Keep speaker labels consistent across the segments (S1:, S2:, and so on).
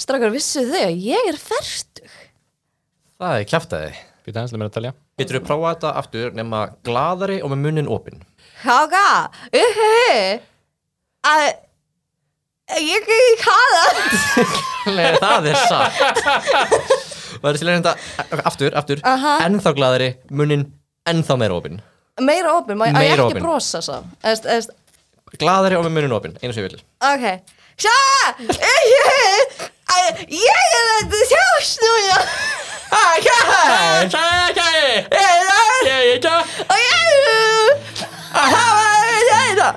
S1: Strákar, vissu þau að ég er fertug?
S2: Það er kjæftæði.
S3: Býta hans, leið mér að telja.
S2: Getur við prófað þetta aftur nema gladari og með munnin opinn?
S1: Háka, uhu, að ég er í kaða.
S2: Nei, það er satt. Það er til að reynda aftur, aftur,
S1: Aha.
S2: ennþá gladari, munnin ennþá meira opinn.
S1: Meira opinn, má ég á ég
S2: Meira
S1: ekki
S2: opinn.
S1: brosa svo? Eðst, eðst,
S2: Gladari og með munnin opinn, einu sem ég vil.
S1: ok. Sjá, uhu, að ég er að þjást núna. Háka, ég er og ég er að hafa þetta. hérna.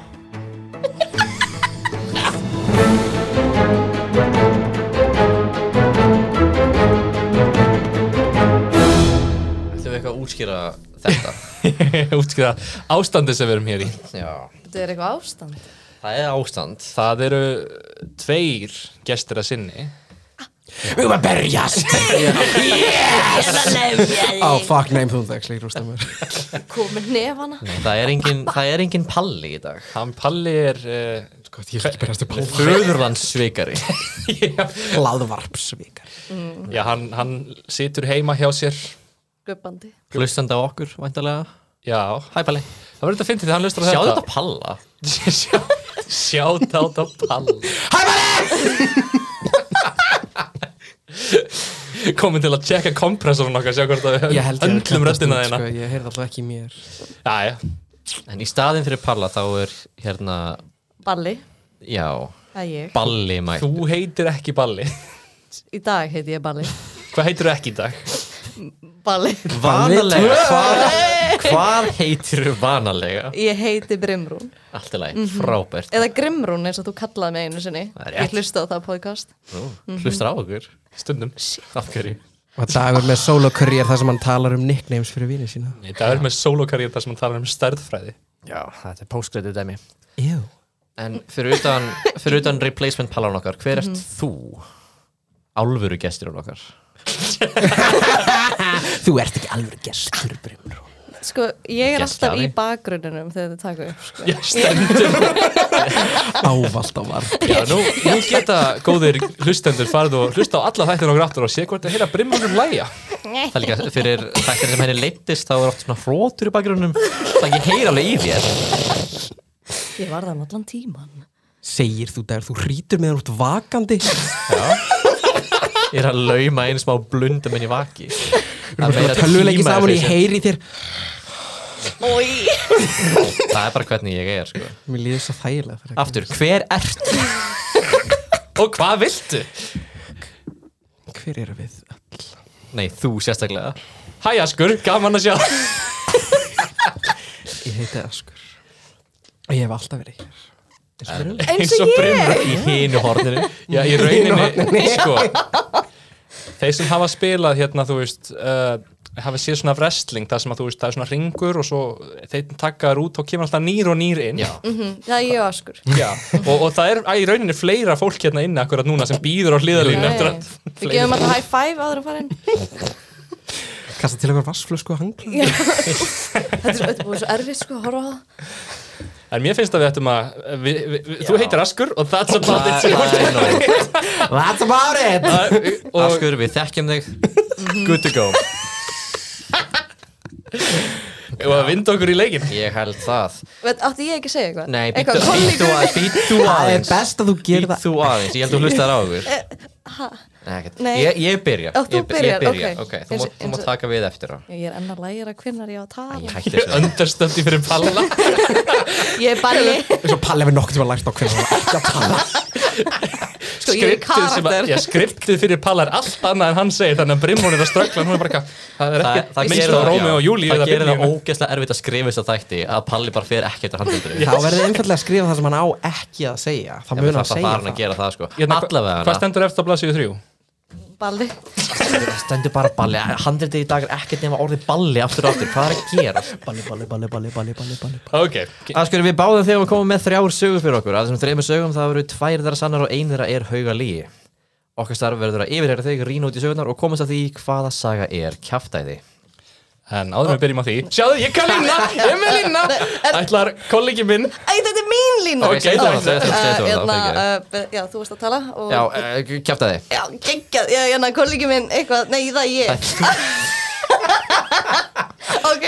S2: Ætlum við eitthvað að útskýra þetta?
S3: Útskriða ástandi sem við erum hér í.
S2: Já.
S1: Þetta er eitthvað ástand.
S2: Það er ástand.
S3: Það eru tveir gestir að sinni.
S4: Við erum að berjast
S5: Oh, fuck, name þú það ekki, rústa mér.
S1: Komið nefana.
S2: Það er engin, það er engin palli í dag.
S3: Hann Palli er... Uh,
S5: Gott, Sko, ég vil ekki berjast upp á
S2: Föðurlandssvikari.
S5: hlaðvarpsvíkar.
S3: já, hann, hann situr heima hjá sér.
S1: Guppandi.
S2: Hlustandi á okkur, væntalega.
S3: Já,
S2: Hæ, Palli.
S3: það verður þetta að fyndi þegar hann lustar á
S2: Sjáðu
S3: þetta.
S2: þetta palla.
S3: Sjá, sjátt á þetta Palli. Komin til að tjekka kompressorinn okkar, sjá hvort að
S5: Ég held
S3: við öndlum röddina þína.
S5: Sko, ég heyrði alltaf ekki í mér.
S3: Jæja,
S2: En í staðin fyrir palla þá er hérna,
S1: Balli.
S2: já,
S1: Það er ég.
S2: balli mætt.
S3: þú heitir ekki Balli.
S1: Í dag heiti ég Balli.
S3: Hvað heitir þú ekki í dag?
S1: Balli.
S2: Vanalega, hvað, hvað heitir vanalega?
S1: Ég heiti Brimrún.
S2: Allt í lagi, frábært.
S1: Eða Grimrún eins og þú kallaði mig einu sinni.
S2: Það er rétt.
S1: Ég hlusta á það podcast.
S2: Nú, Hlustar á okkur,
S3: Stundum.
S2: af hverju?
S5: Og dagur með solo career þar sem hann talar um nicknames fyrir vini sína.
S3: Nei, það er með solokarriér þar sem hann talar um stærðfræði.
S2: Já, þetta er postgrætið dæmi.
S5: Ew.
S2: En fyrir utan, fyrir utan replacement pallan okkar, hver ert þú? Álfuru gesturinn okkar.
S5: Þú ert ekki alveg gestur, Brimur.
S1: Sko, ég er alltaf
S2: Gestgjafi.
S1: í bakgrunninum þegar þið taka upp. Sko.
S3: Já, stundum.
S5: Ávald á varp.
S3: Já, nú, nú geta góðir hlustendur farið og hlusta á alla þættina okkur aftur og sé hvort að heyra um brimmunum læja.
S2: Það er líka fyrir þættir sem henni leittist, þá er oft svona hrótur í bakgrunnum. Það ekki heyra alveg í þér.
S1: Ég var það um allan tíman.
S5: Segir þú dagur, þú hrítur með hann út vakandi.
S2: Ég er að lauma einn smá blundum en ég vaki. Það er meira
S5: Tölvuleiki
S2: tíma
S5: saman,
S2: eftir
S5: ég
S2: þessu.
S5: heyri í þér.
S1: Ói.
S2: Það er bara hvernig ég er, sko.
S5: Mér líður svo þægilega fyrir ekki.
S2: Aftur, hver ert þú?
S3: Og hvað viltu?
S5: Hver eru við öll?
S2: Nei, þú sérstaklega.
S3: Hæ, Askur, gaman að sjá.
S5: Ég heiti Askur. Og ég hef alltaf verið hér. Eins og Brimur.
S1: Eins og ég.
S2: Í hinu horninu.
S3: Já, í rauninni, sko. Þeir sem hafa spilað hérna, þú veist, uh, hafa séð svona wrestling, það sem að þú veist, það er svona ringur og svo þeir taka þær út og kemur alltaf nýr og nýr inn.
S2: Já.
S1: Mhm, Það er ég og Askur.
S3: Já, og, og það er æ, í rauninni fleira fólk hérna inni akkurat núna sem býður á hliðalínu eftir
S1: Nei.
S3: að
S1: Við gefum alltaf high five áður að fara inn.
S5: Kasta til okkur vassflösku og hangla.
S1: Já. Þetta er svo- þetta er búið svo erfitt sko að horfa á það.
S3: En mér finnst að við ættum að, við, við, við, þú heitir Askur og that's about
S2: Það
S3: it.
S2: það er nóg.
S5: That's about it!
S3: Og
S2: Askur, við þekkjum þig. Good to go.
S3: og að vinda okkur í leikin.
S2: Ég held það.
S1: Veit, Átti ég ekki að segja eitthvað?
S2: Nei,
S1: Eitthvað
S2: býttu- býttu
S1: kollegur-
S2: að- býttu
S5: Það er
S2: aðeins.
S5: best að þú gerir það
S2: Býttu aðeins. Ég held þú hlustaðar á okkur. Nei, ekkert.
S1: Nei.
S2: Ég, ég byrja.
S1: Ó, þú
S2: Ég-
S1: byrjar,
S2: Ég byrja,
S1: ok.
S2: ok. Þú
S1: Eins-
S2: mátt- Þú
S1: eins-
S2: mátt taka við eftir á.
S1: Ég er enn að læra hvinnar ég á að tala.
S2: Ég hætti þessu.
S3: Understöndi fyrir palla.
S1: Ég er balli.
S5: eins og Palli hefur nokkuð tíma lært á hvernig hann var ekki að tala
S1: Sko, ég er
S3: Skriptið sem að-
S1: karakter.
S3: Já, skriptið fyrir palla er allt annað en hann segir, þannig að Brimón er að ströggla, hún er bara eitthvað, það er
S2: Það,
S3: ekki
S2: það
S3: minnst
S2: gerir
S3: á
S2: það,
S3: Rómi og Júli
S2: já, það gerir það ógeðslega erfitt að skrifa þess að þætti að Palli bara fer ekki eftir handhundur
S5: þá verður þið einfallega að skrifa það sem hann á ekki að segja það mun að
S2: það
S5: segja
S2: var hann að gera það sko allavega
S3: Hvað
S2: hana
S3: stendur eftir á blaðsíðu þrjú?
S1: Balli.
S2: það stendur bara balli handhundur í dag er ekkert nema orðið balli aftur og aftur hvað er að gera
S5: það Balli, balli, balli, balli, balli, balli, balli
S3: Ok,
S2: að sko við báðum þegar við komum með þrjár sögur fyrir okkur að þessum þreymur sögum það verður tvær þeirra sannar og ein þeirra er hauga lí okkar starf verður að yfirheyra þau rýna út í sögurnar og komast að því hvaða saga er kjaftaði
S3: En áður með byrjum á því Sjáðu, ég kann lína, ég er með lína Ætlar kollegi minn
S1: Æ, þetta er mín lína
S3: Ok, segðu það, segðu
S2: það, segðu það,
S1: Hérna,
S2: fyrirgefðu.
S1: eh, Já, þú varst að tala og-
S2: Já, uh, kjæfta þig
S1: Já, geggjað, já, hérna, kollegi minn eitthvað, nei, það er ég Ok,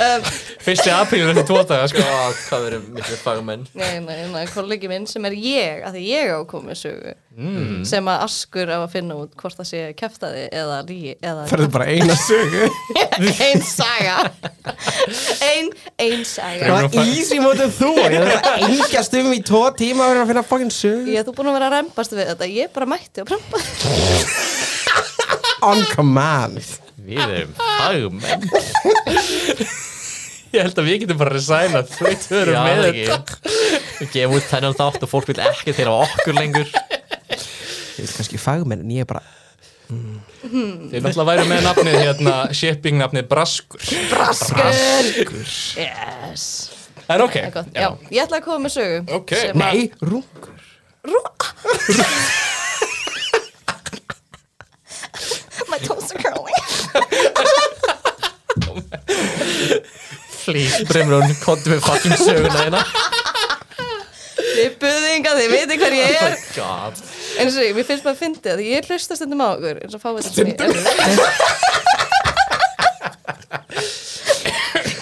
S1: um,
S3: Fyrsti apríl eftir tvo daga sko.
S2: Hvað verður miklu fagmenn
S1: nei, nei, hérna, kollegi minn sem er ég, að því ég á komið sögu mm. sem að askur á að finna út hvort það sé keftaði eða líi eða
S5: Það er bara eina sögu
S1: ein saga ein, ein saga
S5: Það var easy mótið þú Ég þarf að engast um í tvo tíma fyrir að finna fucking sögu
S1: Ég, þú búin að vera að rempast við þetta, ég bara mætti að prempa
S5: On command
S2: Við erum fagmenn
S3: Ég held að við getum bara að resigna Þau törum með þetta
S2: Við gefum út þennan þátt og fólk vil ekki þeirra okkur lengur
S5: Ég vil kannski fagmenn en ég er bara
S3: Þið náttúrulega væri með nafnið hérna Shipping nafnið Braskur
S1: Braskur Yes
S3: En ok,
S1: Það er gott, já. Ég ætla að koma með sögu
S3: Ok.
S1: sem að-
S5: Nei, rungur
S1: My toes are curling
S2: Please, Brimrún, kontum við fucking söguna hérna
S1: Þið buðinga, þið veitir hver ég er
S2: God
S1: En svo, mér finnst bara að fyndi að ég hlusta stundum á okkur eins og fáið þetta Stundum?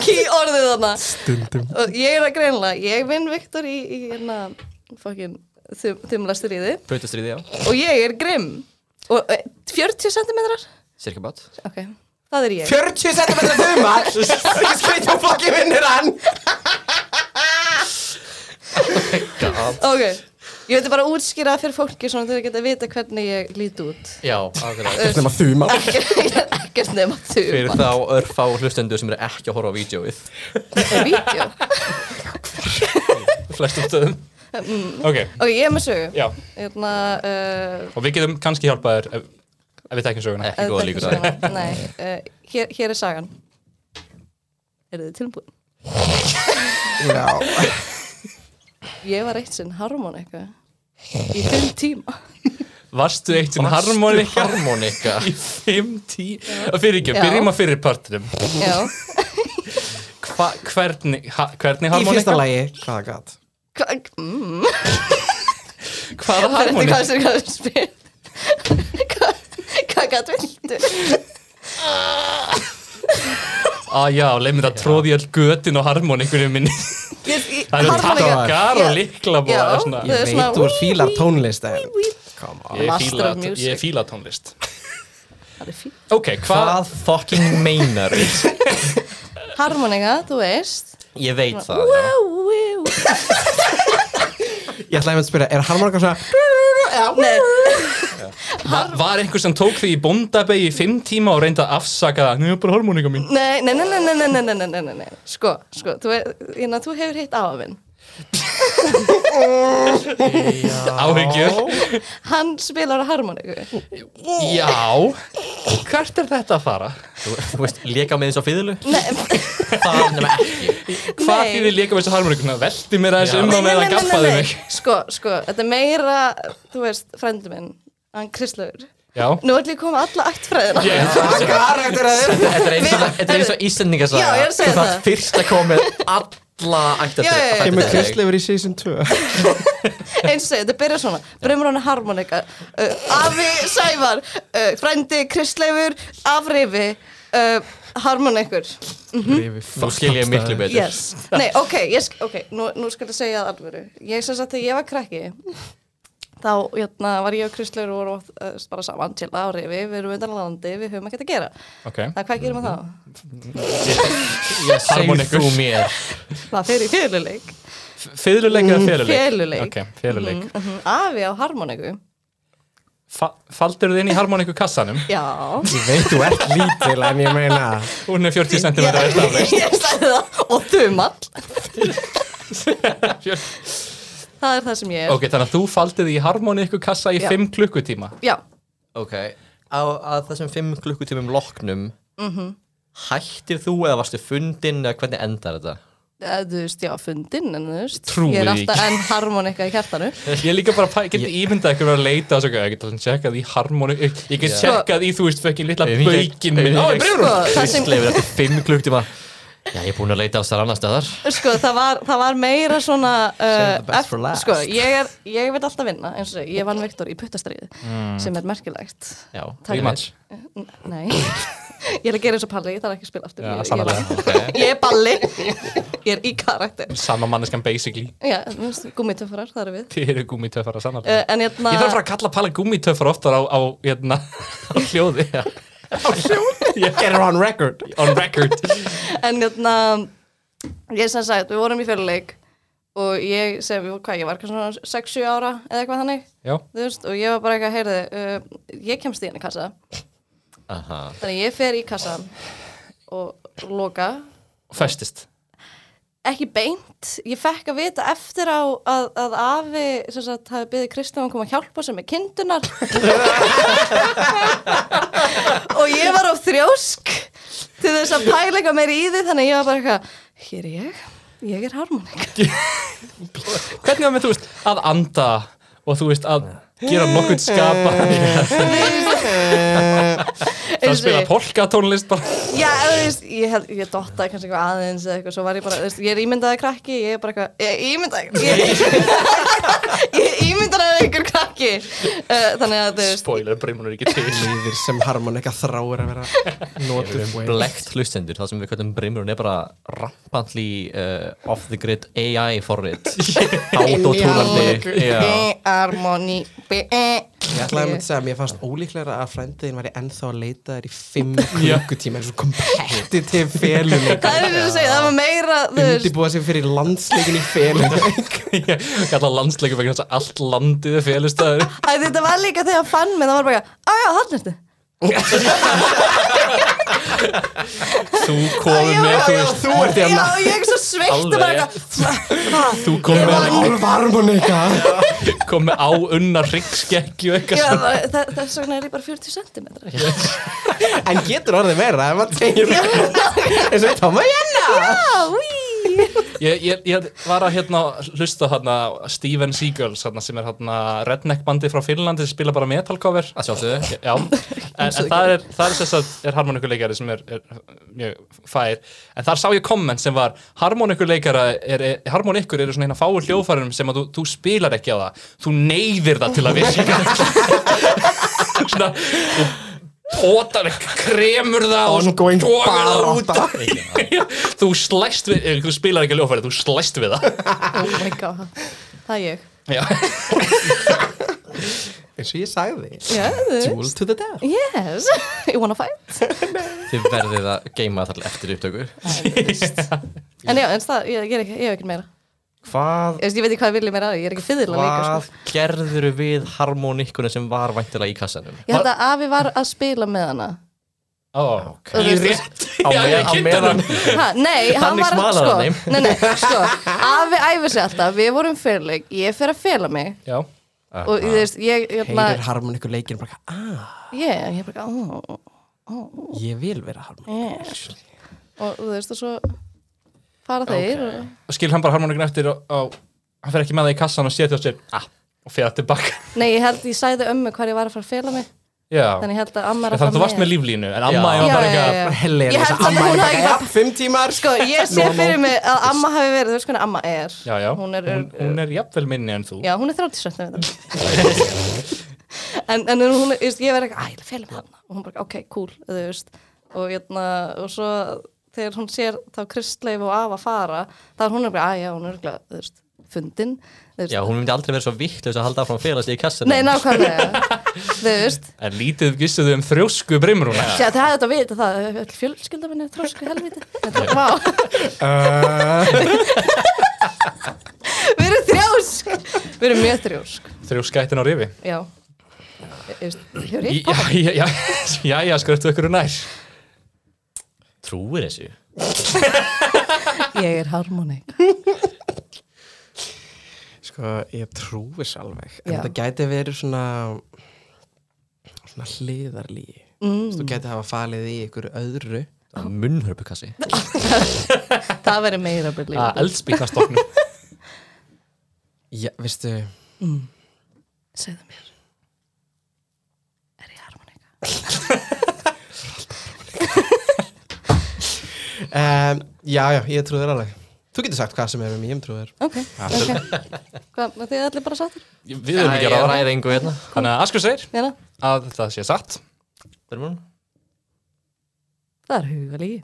S1: Ký orðið þarna Stundum Og ég er að greinlega, ég vinn Viktor í, í hérna fokkin þumla stríði
S2: Pautastriði, já
S1: og ég er grimm og eh, 40 cm
S2: Cirka bát
S1: ok, það er ég
S5: 40 cm þuma Ég skreit hún fucking vinnur hann
S2: God
S1: ok, ég veit bara útskýra fyrir fólki svona þegar geta að vita hvernig ég lít út
S2: Já, akkurat
S5: Þetta er maður þuma
S1: ekkert nema
S2: Fyrir
S1: þumla
S2: þá örfá hlustendur sem eru ekki að horfa á vídjóið
S1: vídeo
S3: flestum stöðum
S1: Mm.
S3: Ok,
S1: ok, ég er með sögu
S3: já
S1: hérna uh,
S3: Og við getum kannski hjálpað þér ef, ef við tekjum söguna
S2: Ekki góða líkur það
S1: það Nei, uh, hér, hér er sagan Er þið tilbúin?
S5: Já,
S1: Ég var eitt sinn harmon eitthvað Í fimm tíma
S3: Varstu eitt sinn harmonika
S2: Harmonika
S3: í 5-10 Fyrir ekki, byrjum að fyrir partinum
S1: Já
S3: Hva, Hvernig, ha, hvernig
S5: í fyrsta
S3: harmonika?
S5: lagi Hvaða gat
S1: Hva, mm, Það er
S3: Hvaða
S1: þetta
S3: harmonika?
S1: hvað sem hvað spyr Hvað hvað gæt viltu?
S3: Ah já, leið mér að tróði all götin og harmonikunum minni
S1: Ég- ég-
S3: Það eru
S1: harmonika-
S3: takkar og
S1: Já.
S3: líkla
S1: Já.
S5: Ég
S1: Það er
S5: veit
S1: svona-
S5: þú er fílar tónlist en Come on
S3: Ég
S1: Master
S3: fíla,
S1: of music.
S3: ég fíla tónlist
S1: Það er fínt
S3: Ok, hvað
S2: Hvað fucking meinar
S1: Harmonika, þú veist
S2: Ég veit það, já
S1: Wow, wow.
S5: Ég ætlaði að spyrja, er harmonika svona
S1: Nei,
S3: va var einhver sem tók því í bóndabegi í fimm tíma og reyndi að afsaka það Nú er bara harmonika mín
S1: Nei, nei, nei, nei, nei, nei, nei, nei, nei, nei, nei, sko, sko, þú, er, hérna, þú hefur hitt afa minn.
S3: Áhyggjur
S1: Hann spilar á harmoniku.
S3: Já Hvert er þetta að fara?
S2: Þú, þú veist, leka með eins og fýðlu
S1: Nei,
S2: Það er nema ekki
S3: Hvað
S1: Nei.
S3: þýðir líka með þessu harmonikuna? Velti mér aðeins
S2: Já.
S3: um á
S1: nei,
S3: meðan gaffaði mig
S1: Sko, sko, þetta er meira, þú veist, frændi minn, hann Krislaugur.
S3: Já
S1: Nú ætlum ég að koma alla ættfræðina.
S5: karakter að þér?
S2: Þetta er eins og, þetta er eins og Íslendinga
S1: Já, ég er að segja
S2: Þú
S1: það.
S2: þarf fyrst að koma með alla ættir
S1: Já, já, já.
S5: Kemur Kristleifur í season 2
S1: Eins og segja, þetta byrjar svona, bremur hann harmonika, uh, afi Sævar, uh, frændi Krislaugur, afrifi, uh, harmonikur.
S2: Þú skil ég miklu betur
S1: Yes. Nei, ok, ég, sk- ok, nú, nú skal ég segja það alvöru. Ég sem sagt að þegar ég var krakki, þá jötna, var ég og Kristlaugur og vorum oft, uh, bara saman til ári, við við erum undan landi, við höfum ekkert að gera.
S3: Ok
S1: Það hvað gerum við þá?
S2: yes. Segð
S3: Harmonikur.
S2: þú mér
S1: Það fer í féluleik.
S3: Fyðluleik eða féluleik?
S1: Feluleik.
S3: Ok, féluleik
S1: Mm Afi á harmoniku.
S3: Fa Faldur þið inn í harmoniku kassanum?
S1: Já.
S5: Ég veit þú ert lítil en ég meina
S3: Hún er 40 cm í stafleik
S1: ég sagði það. Og þumall. það er það sem ég er.
S3: Ok, þannig að þú faldið í harmoniku kassa í
S1: Já.
S3: 5 klukkutíma
S1: Já.
S2: Ok, á að þessum fimm
S1: Mhm.
S2: klukkutímum loknum Hættir þú eða varstu fundin eða hvernig endar
S1: eða,
S2: þetta?
S1: Eh, þú veist, já, fundin en þú veist,
S3: Trúi
S1: ég er
S3: því
S1: alltaf enn harmonika í hjartanu
S3: Ég er líka bara, pæ- ég geti ímyndað ykkur að leita og svo, ég get alveg tjekkað í harmónu ég ég get
S2: Já.
S3: tjekkað í, þú veist, fekkin litla
S2: Ef ég-
S3: baukin
S2: ef ég-
S3: minn Ó, ég breyður hún!
S1: Sko, það sem-
S2: Kristleifur eftir 5 klukktíma Já, ég er búin að leita á þessar annar staðar
S1: sko, það var, það var meira svona
S5: Save the best
S1: ef-
S5: for last.
S1: sko, ég, er, ég vil alltaf vinna eins og ég vann Viktor í puttastriði sem er merkilegt
S2: Já,
S1: Takk.
S3: Rematch.
S1: N- nei, ég er að gera eins og palli ég þarf ekki að spila aftur
S3: Já,
S1: ég, ég,
S3: sannarlega.
S1: er- ég er balli, ég er í karakter
S3: Sama manneskan basically
S1: já, gummitöfrar, það eru við
S3: Þið eru gúmitöfara sannarlega
S1: uh, en hérna
S3: Ég þarf að fara að kalla Palla gúmitöfar oftar á, á, hérna, á hljóði Á hljóði? Yeah.
S5: Get her on record
S3: On record
S1: en hérna ég sem sagt, við vorum í fjöluleik og ég sem, hvað, ég var eitthvað svona 6-7 ára eða eitthvað þannig
S3: Já,
S1: þú veist, og ég var bara eitthvað, heyrði uh, ég kemst í henni kassa
S2: Aha.
S1: þannig að ég fer í kassan og loka
S3: festist
S1: ekki beint, ég fekk að vita eftir á að, að afi sem sagt hafi byggði Kristján að koma að hjálpa sem er kindunar og ég var á þrjósk til þess að pæla eitthvað meir í því þannig að ég var bara eitthvað hér er ég, ég er harmonik
S3: Hvernig var með, þú veist, að anda og þú veist, að gera nokkuð skapa Það spila polkatónlist bara
S1: Já, þú veist, ég, held, ég dottaði kannski eitthvað aðeins eða eitthvað, svo var ég bara, þú veist, ég er ímyndaði krakki, ég er bara eitthvað, ég er ímyndaði, ég, ég ímyndaði einhver krakki, uh, þannig að, þú veist,
S3: Spoiler, brimur er ekki til
S5: Lífir sem harmonika þráir að vera notuð way.
S2: Blekt hlustendur, það sem við kvöldum brimurinn er bara rampantly uh, off the grid AI forrið Autotúnandi Já.
S1: B-harmoni, b
S5: Ég ætlaði að mynda að segja að mér fannst ólíklega að frændiðin væri ennþá að leita þér í fimm klukkutíma eins og kompetitiv feluleik
S1: Það er þess að segja, það var meira, þú veist,
S5: undirbúa sig fyrir landsleikin í feluleik
S3: Ég kalla landsleikum vegna þess að allt landið er félustæður
S1: að þetta var líka þegar hann fann mig, það var bara, á já, þannig ertu.
S3: Þú komið með, þú veist
S5: Þú ert
S1: Já,
S5: hérna
S1: ég er svo sveikt og
S3: Alveg
S1: bara,
S3: rétt.
S1: eitthvað,
S3: Þú komið með,
S5: Hálf harmonika
S3: kom með á unna hryggskekkju og eitthvað
S1: Já,
S3: svona.
S1: bara,
S5: hérna.
S1: þa- þess vegna er ég bara 40 centimetrar.
S5: En getur orðið meira ef maður tegir eins og Tóma Jenna
S1: Já, úi.
S3: ég, ég, ég var að hérna hlusta hérna Steven Seagulls hérna, sem er hérna redneck bandi frá Finnlandi sem spila bara metal cover
S2: Að sjálfsögðu
S3: Já, en, en það er, það er sess að er harmonikuleikari sem er, er mjög fær, en þar sá ég komment sem var harmonikuleikara, er, er, harmonikur eru svona hérna fáu hljóðfærum sem að þú, þú spilar ekki á það, þú neyðir það til að virka svona, þú tótar kremur það og svo
S5: Ongoing
S3: togar það út
S5: barátta.
S3: af- þú slæst við, eh, þú spilar ekki hljóðfæri þú slæst við það
S1: Oh my god, það er ég.
S3: Já.
S5: Eins og ég sagði
S1: Já, þú veist.
S5: Duel to the death
S1: Yes, you wanna fight
S2: Þið verðið að geima það til eftir upptöku
S1: En já, en það, ég, ég, er ekki, ég hef ekki meira
S5: Hvað
S1: Ég, veist, ég veit ekki hvað ég vilja meira að því, ég er ekki fyrirlega líka
S5: Hvað
S1: sko.
S2: Gerður við harmonikkunum sem var væntilega í kassanum
S1: Ég held að afi var að spila með hana
S3: Ó,
S1: Og þú
S3: í
S1: veist,
S3: rétt Já, ég
S2: á
S3: kynnti
S2: meðan-
S3: hann.
S1: ha, Nei, hann
S2: Þannig
S1: var
S2: smalar
S1: sko,
S2: hann þeim.
S1: nei, nei, sko, Afi æfir sig alltaf, við vorum fyrirleik Ég fer að fela mig
S3: Já. Ah,
S1: Og þú veist, ég, ég,
S5: Heyrir harmonikur leikin bara Ah,
S1: ég, ég bara, ó,
S5: ég vil vera harmonikur
S1: yes Og þú veist, og svo fara þeir okay.
S3: og skil hann bara harmonikun eftir og, og hann fer ekki með það í kassan og setja á sér ah, og fer það tilbaka
S1: Nei, ég held, ég sæði ömmu hvar ég var að fara að fela mig
S3: já.
S1: Þannig ég held að amma er
S3: þannig
S1: að
S3: að þú varst með líflínu en amma
S2: Já.
S3: ég var bara
S1: Já, já, já.
S3: eitthvað
S5: Helena,
S1: Ég held
S5: þessa
S1: að
S5: amma
S1: hún
S5: er
S1: hafi
S5: bara,
S1: bara-
S5: "Ja, Fimm tímar
S1: Sko, ég sé
S5: No, no.
S1: fyrir mig að amma hafi verið, þú veist hvernig amma er
S3: já, já.
S1: Hún er,
S3: hún, hún er jafnvel minni en þú
S1: já, hún er 30 sötna við það En, en hún, er, þú veist, ég verið eitthvað, æ, ég félum hana Og hún bara, ok, cool, þú veist Og, jötna, og svo þegar hún sér þá Kristleif og Ava fara þá er hún er bara, æ, já, hún er örugglega, þú veist, fundin þú veist.
S2: Já, hún myndi aldrei verið svo vittlaus að halda áfram félagslega í kassanum
S1: Nei, nákvæmlega, þú veist
S3: en lítið gissuðu um þrjósku brimrúna
S1: Já, það hefði þetta að vita það, öll fjölskylda minni er trósku helviti Þetta er vá
S3: Uh.
S1: Við erum þrjósk Við erum mjög þrjósk
S3: þrjóskættin á rifi
S1: Já Ég- ég veist, Hefur
S3: Í-
S1: ég
S3: já, já, já, já, já skröftu ykkur um nær
S2: Trúir þessu
S1: Ég er harmonik
S5: Sko, ég trúi þess alveg En
S1: Já.
S5: þetta gæti verið svona Svona hliðarlíi mm. Þú gæti hafa falið í ykkur öðru
S2: munnhörpukassi
S1: það verður meira byrlíf
S3: að eldspýtnastoknum
S5: Já, veistu,
S1: segðu mér er ég harmonika?
S5: um, já, já, ég trú þér alveg Þú getur sagt hvað sem er um mig, ég trú þér
S1: ok, ok hvað, þið allir bara sáttir
S3: við erum ekki að ráða
S2: ræða engu hérna
S3: þannig að Askur segir
S1: Jæna,
S3: að það sé satt
S1: það er hugalígi ég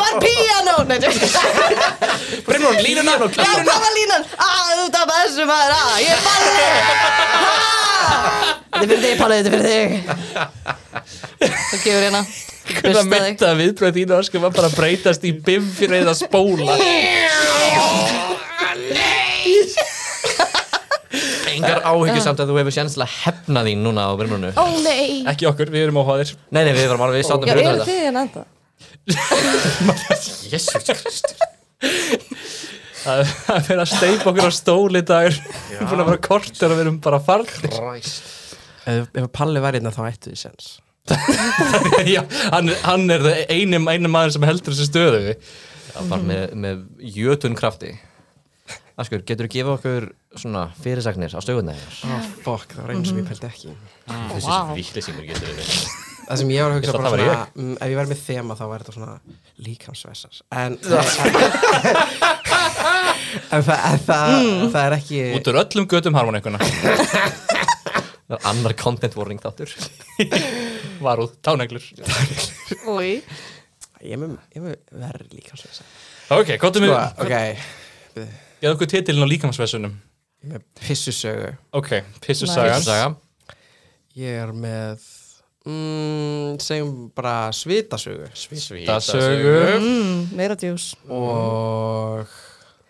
S1: var píanó Nei, djók.
S3: Brimrún, línuna
S1: já, hvað var línan? að, þú tapar þessu maður að, ég er bara Ah. þetta er fyrir þig, Páli, þetta er fyrir þig þú gefur hérna
S3: Hvernig að
S1: Hlusta þig.
S3: metta viðbröð þínu ösku var bara að breytast í bim fyrir eða spóla
S5: Eh,
S2: engar áhyggjur samt að þú hefur sjans til að hefna þín núna á brimrunu
S1: ó nei
S3: Ekki okkur, við erum óháðir
S2: nei, nei, við varum alveg, við sátum
S1: já,
S2: fyrir
S1: eru
S2: þetta
S1: þið hérna enda?
S2: jésús kristur
S3: Það það er verið að steipa okkur á stóli í dagur Búin að vera kortur og við erum bara farnir
S5: Ef, ef Palli væri hérna þá ættu þið sens
S3: Já, hann, hann er það einum, einum maður sem heldur þessu stöðu
S2: það var með, með jötun krafti Askur, getur þú gefa okkur svona fyrirsagnir á stöðunæðir?
S5: Ó, fokk, Ah, það var einu sem ég pældi ekki
S2: Þessi
S1: Vá.
S2: viklýsingur getur við
S5: Það sem ég var að hugsa
S3: Ég
S5: bara
S3: þarf að
S5: svona,
S3: vera
S5: mm, ef ég væri með þema þá væri þetta svona líkamsvessar. En, en það, en það, það er ekki,
S3: Út úr öllum götum harmonikuna
S2: Annar content warning þáttur
S3: Varúð, táneglur
S1: Új.
S5: ég er með, ég er með verri líkamsvessar.
S3: Ok, kottum við
S5: Sko, ok,
S3: Geða okkur titilin á líkamsvessunum
S5: ég er með pissusögu.
S3: Ok, pissu
S1: Nice.
S3: sagan
S2: Saga.
S5: Ég er með, mm, segjum bara svitasögu.
S3: Svitasögu
S1: Mm, meira djús
S5: Og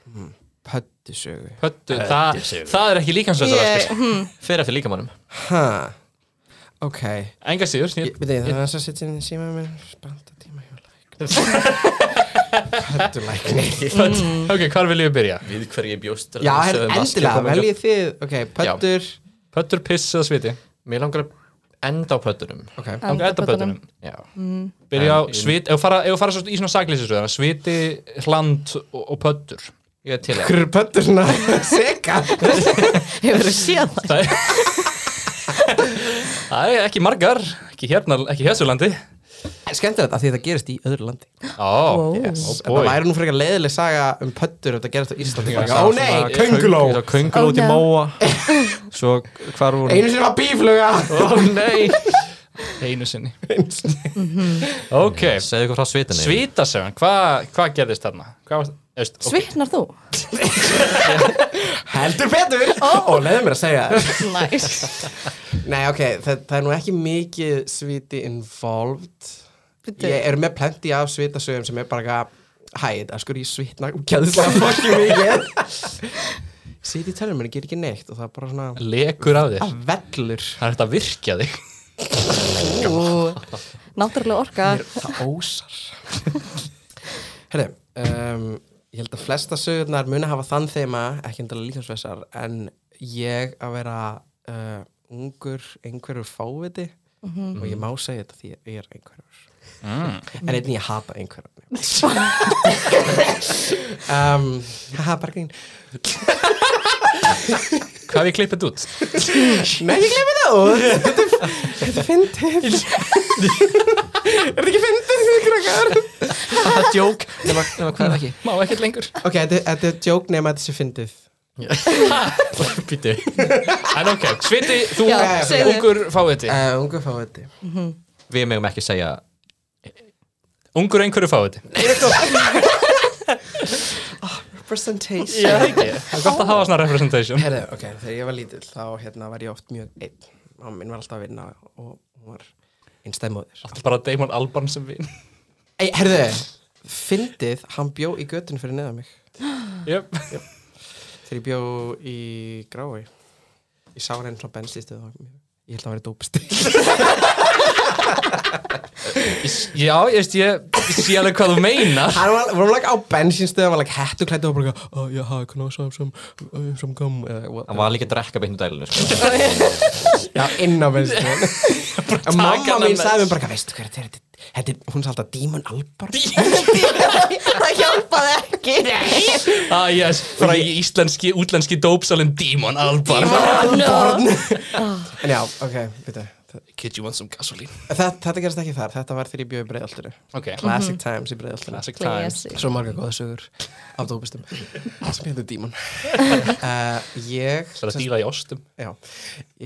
S5: mm, pöttusögu.
S3: Pöttu, það, það er ekki
S1: Ég-
S3: líkamsvessu
S1: hmm,
S2: Fyrir eftir líkamannum
S5: Ha, ok.
S3: Enga síður,
S5: Ég,
S3: ég,
S5: við þið, það er þess að sitja inn í síma mér, spanta tíma hjá lækni. Pöttulækni.
S3: ok, hvar viljum við byrja?
S2: Við hverju ég bjóst
S5: Já, her, endilega, veljið þið Ok, pöttur
S3: Pöttur, piss eða sviti?
S2: Mér langar að enda á pöttunum
S5: Ok,
S3: Þannig enda
S1: Andapötunum.
S3: pöttunum
S2: Já
S3: Byrja á
S2: En-
S3: svit, ef þú fara, ef þú fara svo í svona sakleysisröðana Sviti, hland og, og pöttur
S2: Ég er til að
S5: hver er pöttur svona seka?
S1: hefur séð það
S3: Það er Það er ekki margar, ekki hérna, ekki hérsulandi
S5: Skemmtilegt að því það gerist í öðru landi
S3: Ó,
S5: yes.
S3: ó, boy.
S5: Það væri nú frekar leiðileg saga um pöttur ef það gerist á Íslandi Ó nei,
S2: Könguló
S1: Ó,
S2: Könguló út í
S1: nei.
S2: móa Svo hvar voru
S5: einu sinni var bífluga
S2: Ó nei
S3: einu sinni Ok,
S2: Segðu ykkur frá svitinni
S3: svitasögan, hvað hva gerðist þarna? Hvað var það?
S1: svitnar þú?
S5: Heldur betur Og leiði mér að segja það
S1: næs
S5: Nei, ok, það, það er nú ekki mikið sviti involved
S1: Bíddu.
S5: Ég er með plenty af svitasögum sem er bara eitthvað Hæ, það skur ég svitna um Gæðislega fokki mikið Sviti í tölvum, en ég ger ekki neitt Og það er bara svona
S3: Lekur af þér
S5: vellur
S3: Það er þetta að virkja þig
S1: Ú, náttúrulega orka
S5: Það ósar Herri, um, ég held að flesta sögurnar muni hafa þann þeima ekki endalega líkamsvessar en ég að vera uh, ungur einhverjur fáviti og ég má segja þetta því ég er einhverjur en einnig ég hata einhverjur um, haha, bara grín
S3: Hvað við klippið út?
S5: Nei, ég glemir það út Þetta er- Þetta er fyndið Er þetta ekki fyndið, þið krakkar?
S2: Það er djók Nefna nema hvað er ekki
S3: Má ekkert lengur
S5: Ok, þetta er- þetta er djók nema að þetta sé fyndið
S2: Býti
S3: En ok, sviti, þú
S1: Já, segðu.
S3: ungur fáviti
S5: uh, Ungu fáviti
S2: Við megum ekki segja
S3: Ungur einhverju fáviti
S5: Representation
S3: Já, ekki Það er gott að hafa svona representation
S5: Herðu, ok, þegar ég var lítill þá hérna var ég oft mjög einn Mamma minn var alltaf að vinna og hún var einstæð móðir
S3: Allt bara Damon Albarn sem vin
S5: Ei, herðu, fyndið, hann bjó í götun fyrir neða mig
S3: yep.
S5: Þegar ég bjó í grái Ég sá hann einn svona benslýstuð og ég held að hann væri dópstil
S3: Já, ég veist, ég, ég sé alveg hvað þú meinar
S5: Hann var, var like á bensinstöð, hann var like hettuklættu og bara, oh, já, yeah, can I have some, uh, some gum? Uh, what?
S2: Hann var líka að drekka beint úr dælinu sko.
S5: Já, inn á bensinstöð Mamma
S3: hana
S5: mín
S3: með
S5: sagði mér bara, veistu hver þetta er, þetta Þetta er, hún er alltaf Dímon Albar
S1: það hjálpaði ekki
S3: Ah, yes, fræ íslenski, útlenski dópsalinn Dímon Albar
S5: Albarn
S3: Ah.
S5: En já, ok, veitu
S3: Kid, you want some gasoline?
S5: Þetta, þetta gerast ekki þar, þetta var þegar ég bjöði breiðaltinu
S3: Ok,
S5: Classic Times í breiðaltinu
S3: Mhm. classic times
S1: Classic.
S5: Svo marga góða sögur af dópistum sem hefði Dímon uh, Ég
S3: Það er að díla í ostum
S5: Já,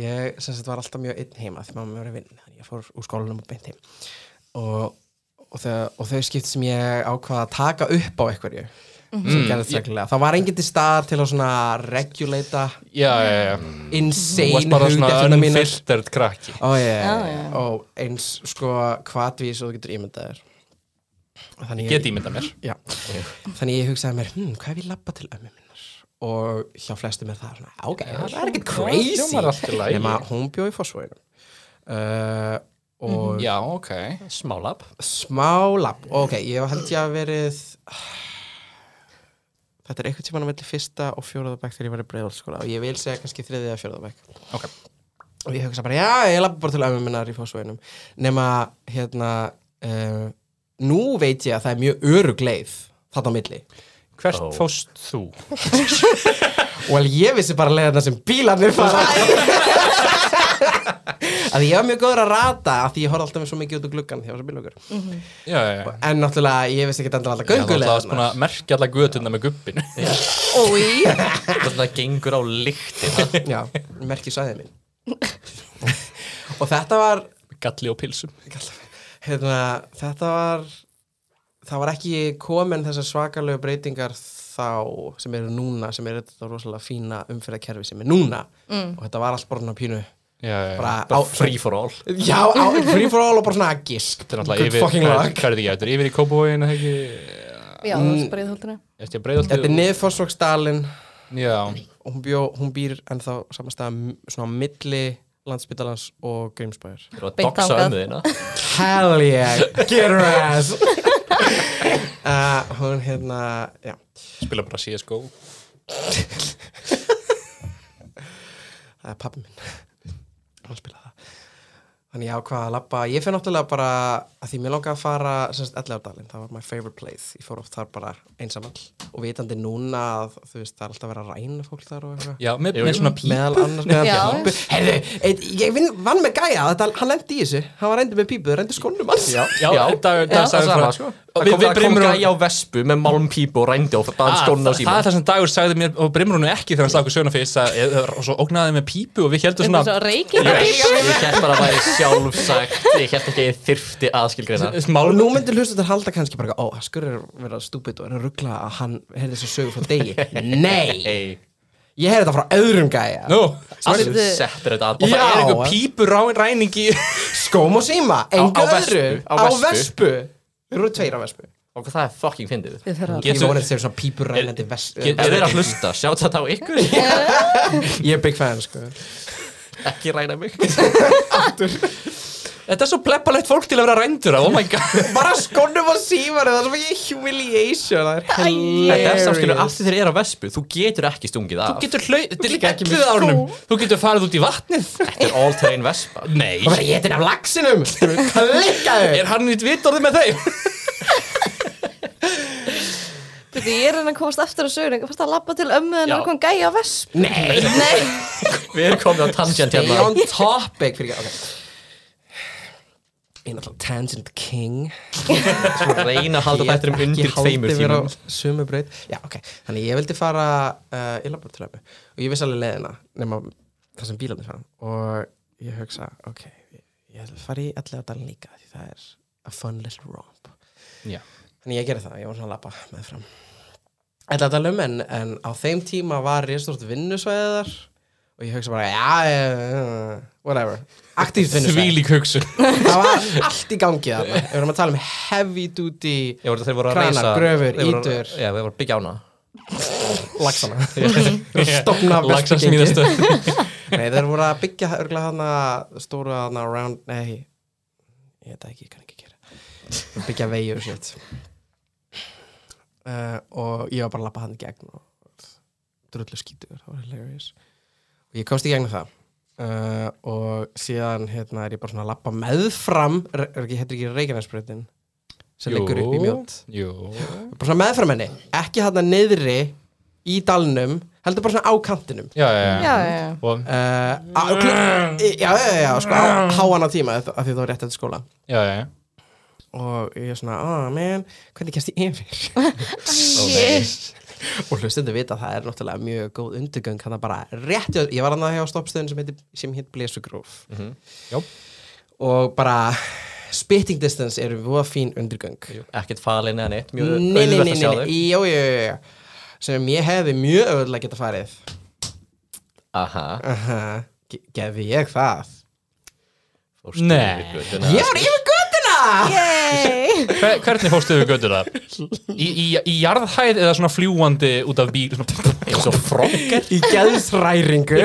S5: ég sem sagt var alltaf mjög einn heima því mamma mér var að vinna, þannig ég fór úr skólanum og beint heim og, og, þegar, og þau skipt sem ég ákvaða að taka upp á einhverju
S3: Mhm. Mm,
S5: sem gerðist reglulega, það var enginn til staðar til að svona regulata
S3: Já, já, já Þú
S5: insane
S3: varst bara svona
S5: hugdetturnar mínar.
S3: unfiltered krakki
S5: Ó, já, já,
S1: Já,
S5: já.
S1: já.
S5: og eins sko hvatvís og þú getur ímyndað þér Þannig
S3: Get ímynda mér
S5: Já, þannig ég hugsaði mér, hm, hvað ef ég labba til ömmu minnar? Og hjá flestum er það svona, ok, það er ekkert
S3: hljómar allt í
S5: crazy.
S3: lagi.
S5: Nefna, hún bjó í fósvöginum. Uh,
S1: Mhm.
S5: og
S3: Já, ok
S2: Smálab
S5: smá labb, ok, ég held ég að verið, þetta er einhvern tímann á milli fyrsta og fjóraðabæk þegar ég var í breiðvaldskóla og ég vil segja kannski þriðið að fjóraðabæk.
S3: Ok
S5: og ég hugsa bara, já, ég lappa bara til ömmu minnar í fósveginum nema, hérna uh, nú veit ég að það er mjög örug leið þarna á milli
S3: Hvert
S2: Ó.
S3: fóst þú?
S5: og well, ég vissi bara leiðina sem bílarnir fara að ég var mjög góður að rata að því ég horfði alltaf með svo mikið út úr gluggan því ég var svo bílugur
S3: Já, já, já
S5: en náttúrulega, ég vissi ekki endilega alltaf
S3: Ég ætla að varst búin
S5: göngulega
S3: að merkja alla götuna með gubbinu
S1: Ói,
S2: Þetta gengur á lyktina
S5: já, merki sæðið mín og þetta var
S3: Galli og pilsum
S5: hérna, þetta var það var ekki komin þessar svakalegu breytingar þá sem eru núna, sem eru þetta rosalega fína umfyrðakerfi sem er núna og þetta var allt bara svona pínu
S3: Já, já, já
S5: bara, á,
S2: Bara free for all
S5: já, á, free for all og bara svona gisk
S3: Þetta er náttúrulega yfir
S5: fucking
S3: hvað-
S5: luck
S3: Hvað er þetta ekki? Þetta er yfir í Kópavóin, ekki?
S1: já, það var breiðhóldinu
S3: Þetta er breiðaltið
S5: þetta er niður Fossvogsdalinn
S3: Já,
S5: og hún, bjó, hún býr ennþá samanstæða svona á milli landsbytalans og Grímsbæjar
S2: Þú eru að
S1: Beint
S2: doxa
S1: þangað.
S2: ömmu þína
S5: Hell yeah, get her ass uh, hún hérna já,
S3: spila bara CSGO
S5: það er pappi minn hann spilaði það þannig ég ákvaða að labba, ég fyrir náttúrulega bara að því mér langaði að fara semst Ellardalinn, það var my favorite place, ég fór oft þar bara einsamall og vitandi núna að þú veist það er alltaf verið að ræna fólk þar og eitthvað
S3: Já, með, með svona píl
S5: meðal annars meðal
S1: Já.
S5: pípu herðu, eit, ég vinn, vann með gæja þetta, hann lendi í þessu, hann var reyndið með pípu það reyndi skónum hans já,
S2: Já,
S3: dag- dag
S2: það
S3: sagði
S2: sama,
S3: frá-
S2: sko.
S3: Við-
S2: Það kom,
S3: við
S2: það kom
S3: brimrum-
S2: gæja á vespu með malmpípu og rændi og það skóna á
S3: Ah, það,
S2: síma
S3: það er það sem Dagur sagði mér og Brimrúnu ekki þegar hann slagur söguna fyrst að, eða- og svo ógnaði þeim með pípu og við heldum
S1: Þetta
S3: svona
S1: er svo reykinga
S2: Ég held bara að það er sjálfsagt Ég held ekki að ég þyrfti aðskilgreina
S5: og
S3: Málum
S5: nú myndir hlustu þetta halda kannski bara ó, skurður verða stúpid og er að ruggla að hann heyrði þessu sögu frá degi nei,
S2: Hey,
S5: ég heyrði þetta frá öðrum gæja
S3: Nú,
S2: allir
S1: Allt-
S2: settir þetta að
S3: og það
S5: Já.
S3: er einhver pípur ræningi
S5: skóm og síma, engu
S2: á
S5: öðru
S2: vespu, á
S5: á
S2: vespu.
S5: vespu Þeir eru tveir á vespu
S2: Og hvað það er fucking fyndið
S1: Við þurfum að
S5: Ég
S3: Getur-
S5: voru þetta sem svona pípurrænandi vespu
S2: Ef þeir eru að hlusta, sjátt þetta á ykkur
S5: Ég er big fan sko
S2: Ekki ræna mig
S3: Þetta er svo pleppalegt fólk til að vera rændur af, oh my god
S5: Bara skónum og símar Það er svo mikið humiliation Það er
S2: Þetta er samskilu af
S5: hilarious
S2: því þeir eru að vespu Þú getur ekki stungið
S3: Þú
S2: af
S3: getur hlauð, þetta er líka
S5: ekki
S3: ekki
S5: með
S3: með árnum Þú getur farið út í vatnið
S2: Þetta er all terrain vespa
S3: Nei,
S5: Það verður getin af laxinum Klikkaðu
S3: er hann í vitorði með þeim?
S1: Bíddu, Ég er henni að komast aftur á sögur Fyrst að labba til ömmu en
S2: Já.
S1: það kom gæja á vesp
S5: Nei
S1: Nei,
S2: Við erum komin á tangent
S5: Stay
S2: hérna
S5: on topic fyrir ekki Ég er náttúrulega Tangent King
S2: Svo reyna að halda þetta um undir tveimur tímum
S5: Sumu braut Já, ok Þannig ég vildi fara uh, Ég labba til ömmu Og ég vissi alveg leiðina Nefna það sem bílarnir fara Og ég hugsa Ok, ég, ég ætla að fara í allega dalin líka Því það er a fun little romp
S3: Já,
S5: Þannig ég gerði það, ég var svona að labba með fram Ætla að tala um en, en á þeim tíma var ég stort vinnusvæðið þar og ég hugsa bara, já, eh, whatever Aktíft vinnusvæðið,
S3: þvílík hugsun
S5: það var allt í gangi þarna Við erum að tala um heavy duty
S2: Ég voru þeir voru að
S5: Kranar,
S2: reisa
S5: gröfur,
S2: þeir voru að-
S5: ítur.
S2: Já, þeir voru að byggja ána
S5: lagsana Stofna
S3: Laxa
S5: vespugengi.
S3: smíðastöð
S5: Nei, þeir voru að byggja örgulega hana stóra hana round, nei ég veit það ekki, ég kann ekki gera Þeir byggja vegi og shit uh, og ég var bara að lappa hann í gegn og drullu skítur, það var hilarious og ég komst í gegn það uh, og síðan hérna, er ég bara svona að lappa meðfram er er ekki, heitir ekki Reykjanesbreytin sem liggur upp í mjótt
S3: Jú,
S5: bara svona meðfram henni, ekki hérna niðri í dalnum, heldur bara svona á kantinum
S3: já, já, já,
S1: já, já.
S3: Og,
S5: uh, á, kl- já, já, já, sko á háan á tíma af því það var rétt eftir skóla
S3: já, já, já.
S5: og ég er svona, ah, man, hvernig kemst ég yfir
S1: Shit.
S5: og hlustundu vita að það er náttúrulega mjög góð undirgöng hann bara rétt, hjá- ég var hann að hjá stoppstöðun sem, heitir- sem hitt Blesugróf
S2: Mhm,
S3: Jó.
S5: og bara spitting distance eru voða fín undirgöng
S2: ekkert falin eða neitt, mjög
S5: Nei, nei,
S2: auðvelt
S5: nei,
S2: að sjá
S5: nei,
S2: þau
S5: jú, jú, jú, jú sem ég hefði mjög öðvöldlega geta farið
S2: aha,
S5: Aha, ge- Gerði ég það?
S2: fórstu
S3: Nei.
S2: yfir götuna.
S5: Ég var yfir göttuna!
S1: Yay!
S3: Hver, hvernig fórstu við götur það? Í, í, í jarðhæð eða svona fljúandi út af bíl svona,
S2: eins og frog
S5: Í geðsræringu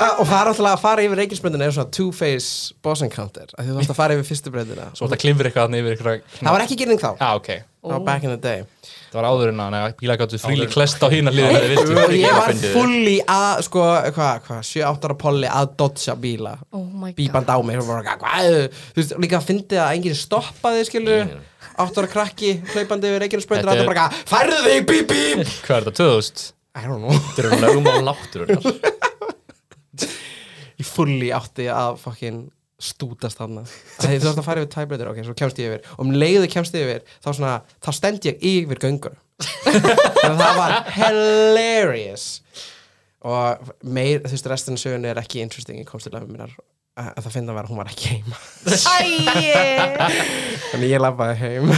S5: Ah, Og það er alltaf að fara yfir reikinsbreyndina er svona two-face boss encounter af því þú varst að fara yfir fyrstu breyndina
S3: svo þetta klimfir eitthvað þarna yfir eitthvað
S5: Það var ekki gerðing þá,
S3: Já, ok,
S5: það var back in the day
S3: það var áður en að nei, bíla gáttu fríli klest á hína liðinu þeir vildu.
S5: Og ég var
S2: fyndið.
S5: fulli að, sko, hvað, hvað, 7-8 ára polli að dodja bíla
S1: Oh my god.
S5: bíband á mig og bara, eitthvað, hvað, þú veist, líka að fyndi að enginn stoppaði, skilur, áttur að krakki, hlaupandi yfir reikjarnsbreytur,
S3: Þetta
S5: þetta
S3: er-
S5: bara, eitthvað, færðu þig, bíp, bíp,
S3: Hvað er þetta, 2000?
S5: I don't know,
S2: þetta eru lögum á náttúrunar
S5: ég fulli átti að fucking stútast þarna, þegar þú ert að fara yfir tæbreytur, ok, svo kemst ég yfir, og um leiðu kemst ég yfir, þá svona, þá stend ég yfir göngur, það var hilarious, og meir, þú veist, restin af sögunni er ekki interesting, ég komst til að minnar, að að það finna að vera, að hún var ekki heima,
S1: Æi!
S5: þannig ég labbaði heim,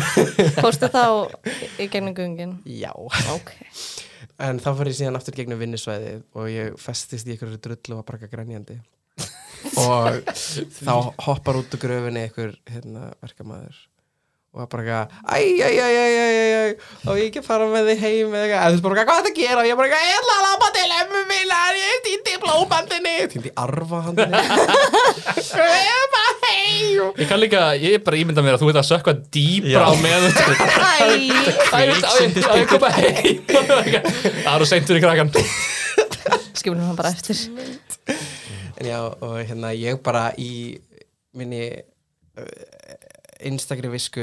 S1: Fórstu þá í gegnum gungin?
S5: já.
S1: Ok.
S5: En þá fór ég síðan aftur gegnum vinnusvæði og ég festist í einhverju drullu að braka grænjandi og þá hoppar út úr gröfinni einhver hérna, verkamaður og að bara eitthvað, æ, æ, æ, æ, æ, æ, æ, þá á ég ekki að fara með þig heim eða eitthvað, eða þú veist bara eitthvað, hvað er þetta að gera og ég bara eitthvað, ég ætla að lápa til emmu minnar, ég týndi blóbandinni, týndi arfa handinni, ég er bara heim.
S3: Ég kann líka, ég er bara ímyndað mér að þú ert að sökva dýbra á meðan þú-
S1: Æi!
S3: Það er þetta að ég koma heim Það eru seintur í krakkan
S1: Skifnum hann bara eftir.
S5: En já, og hérna ég bara í minni uh, einstakri visku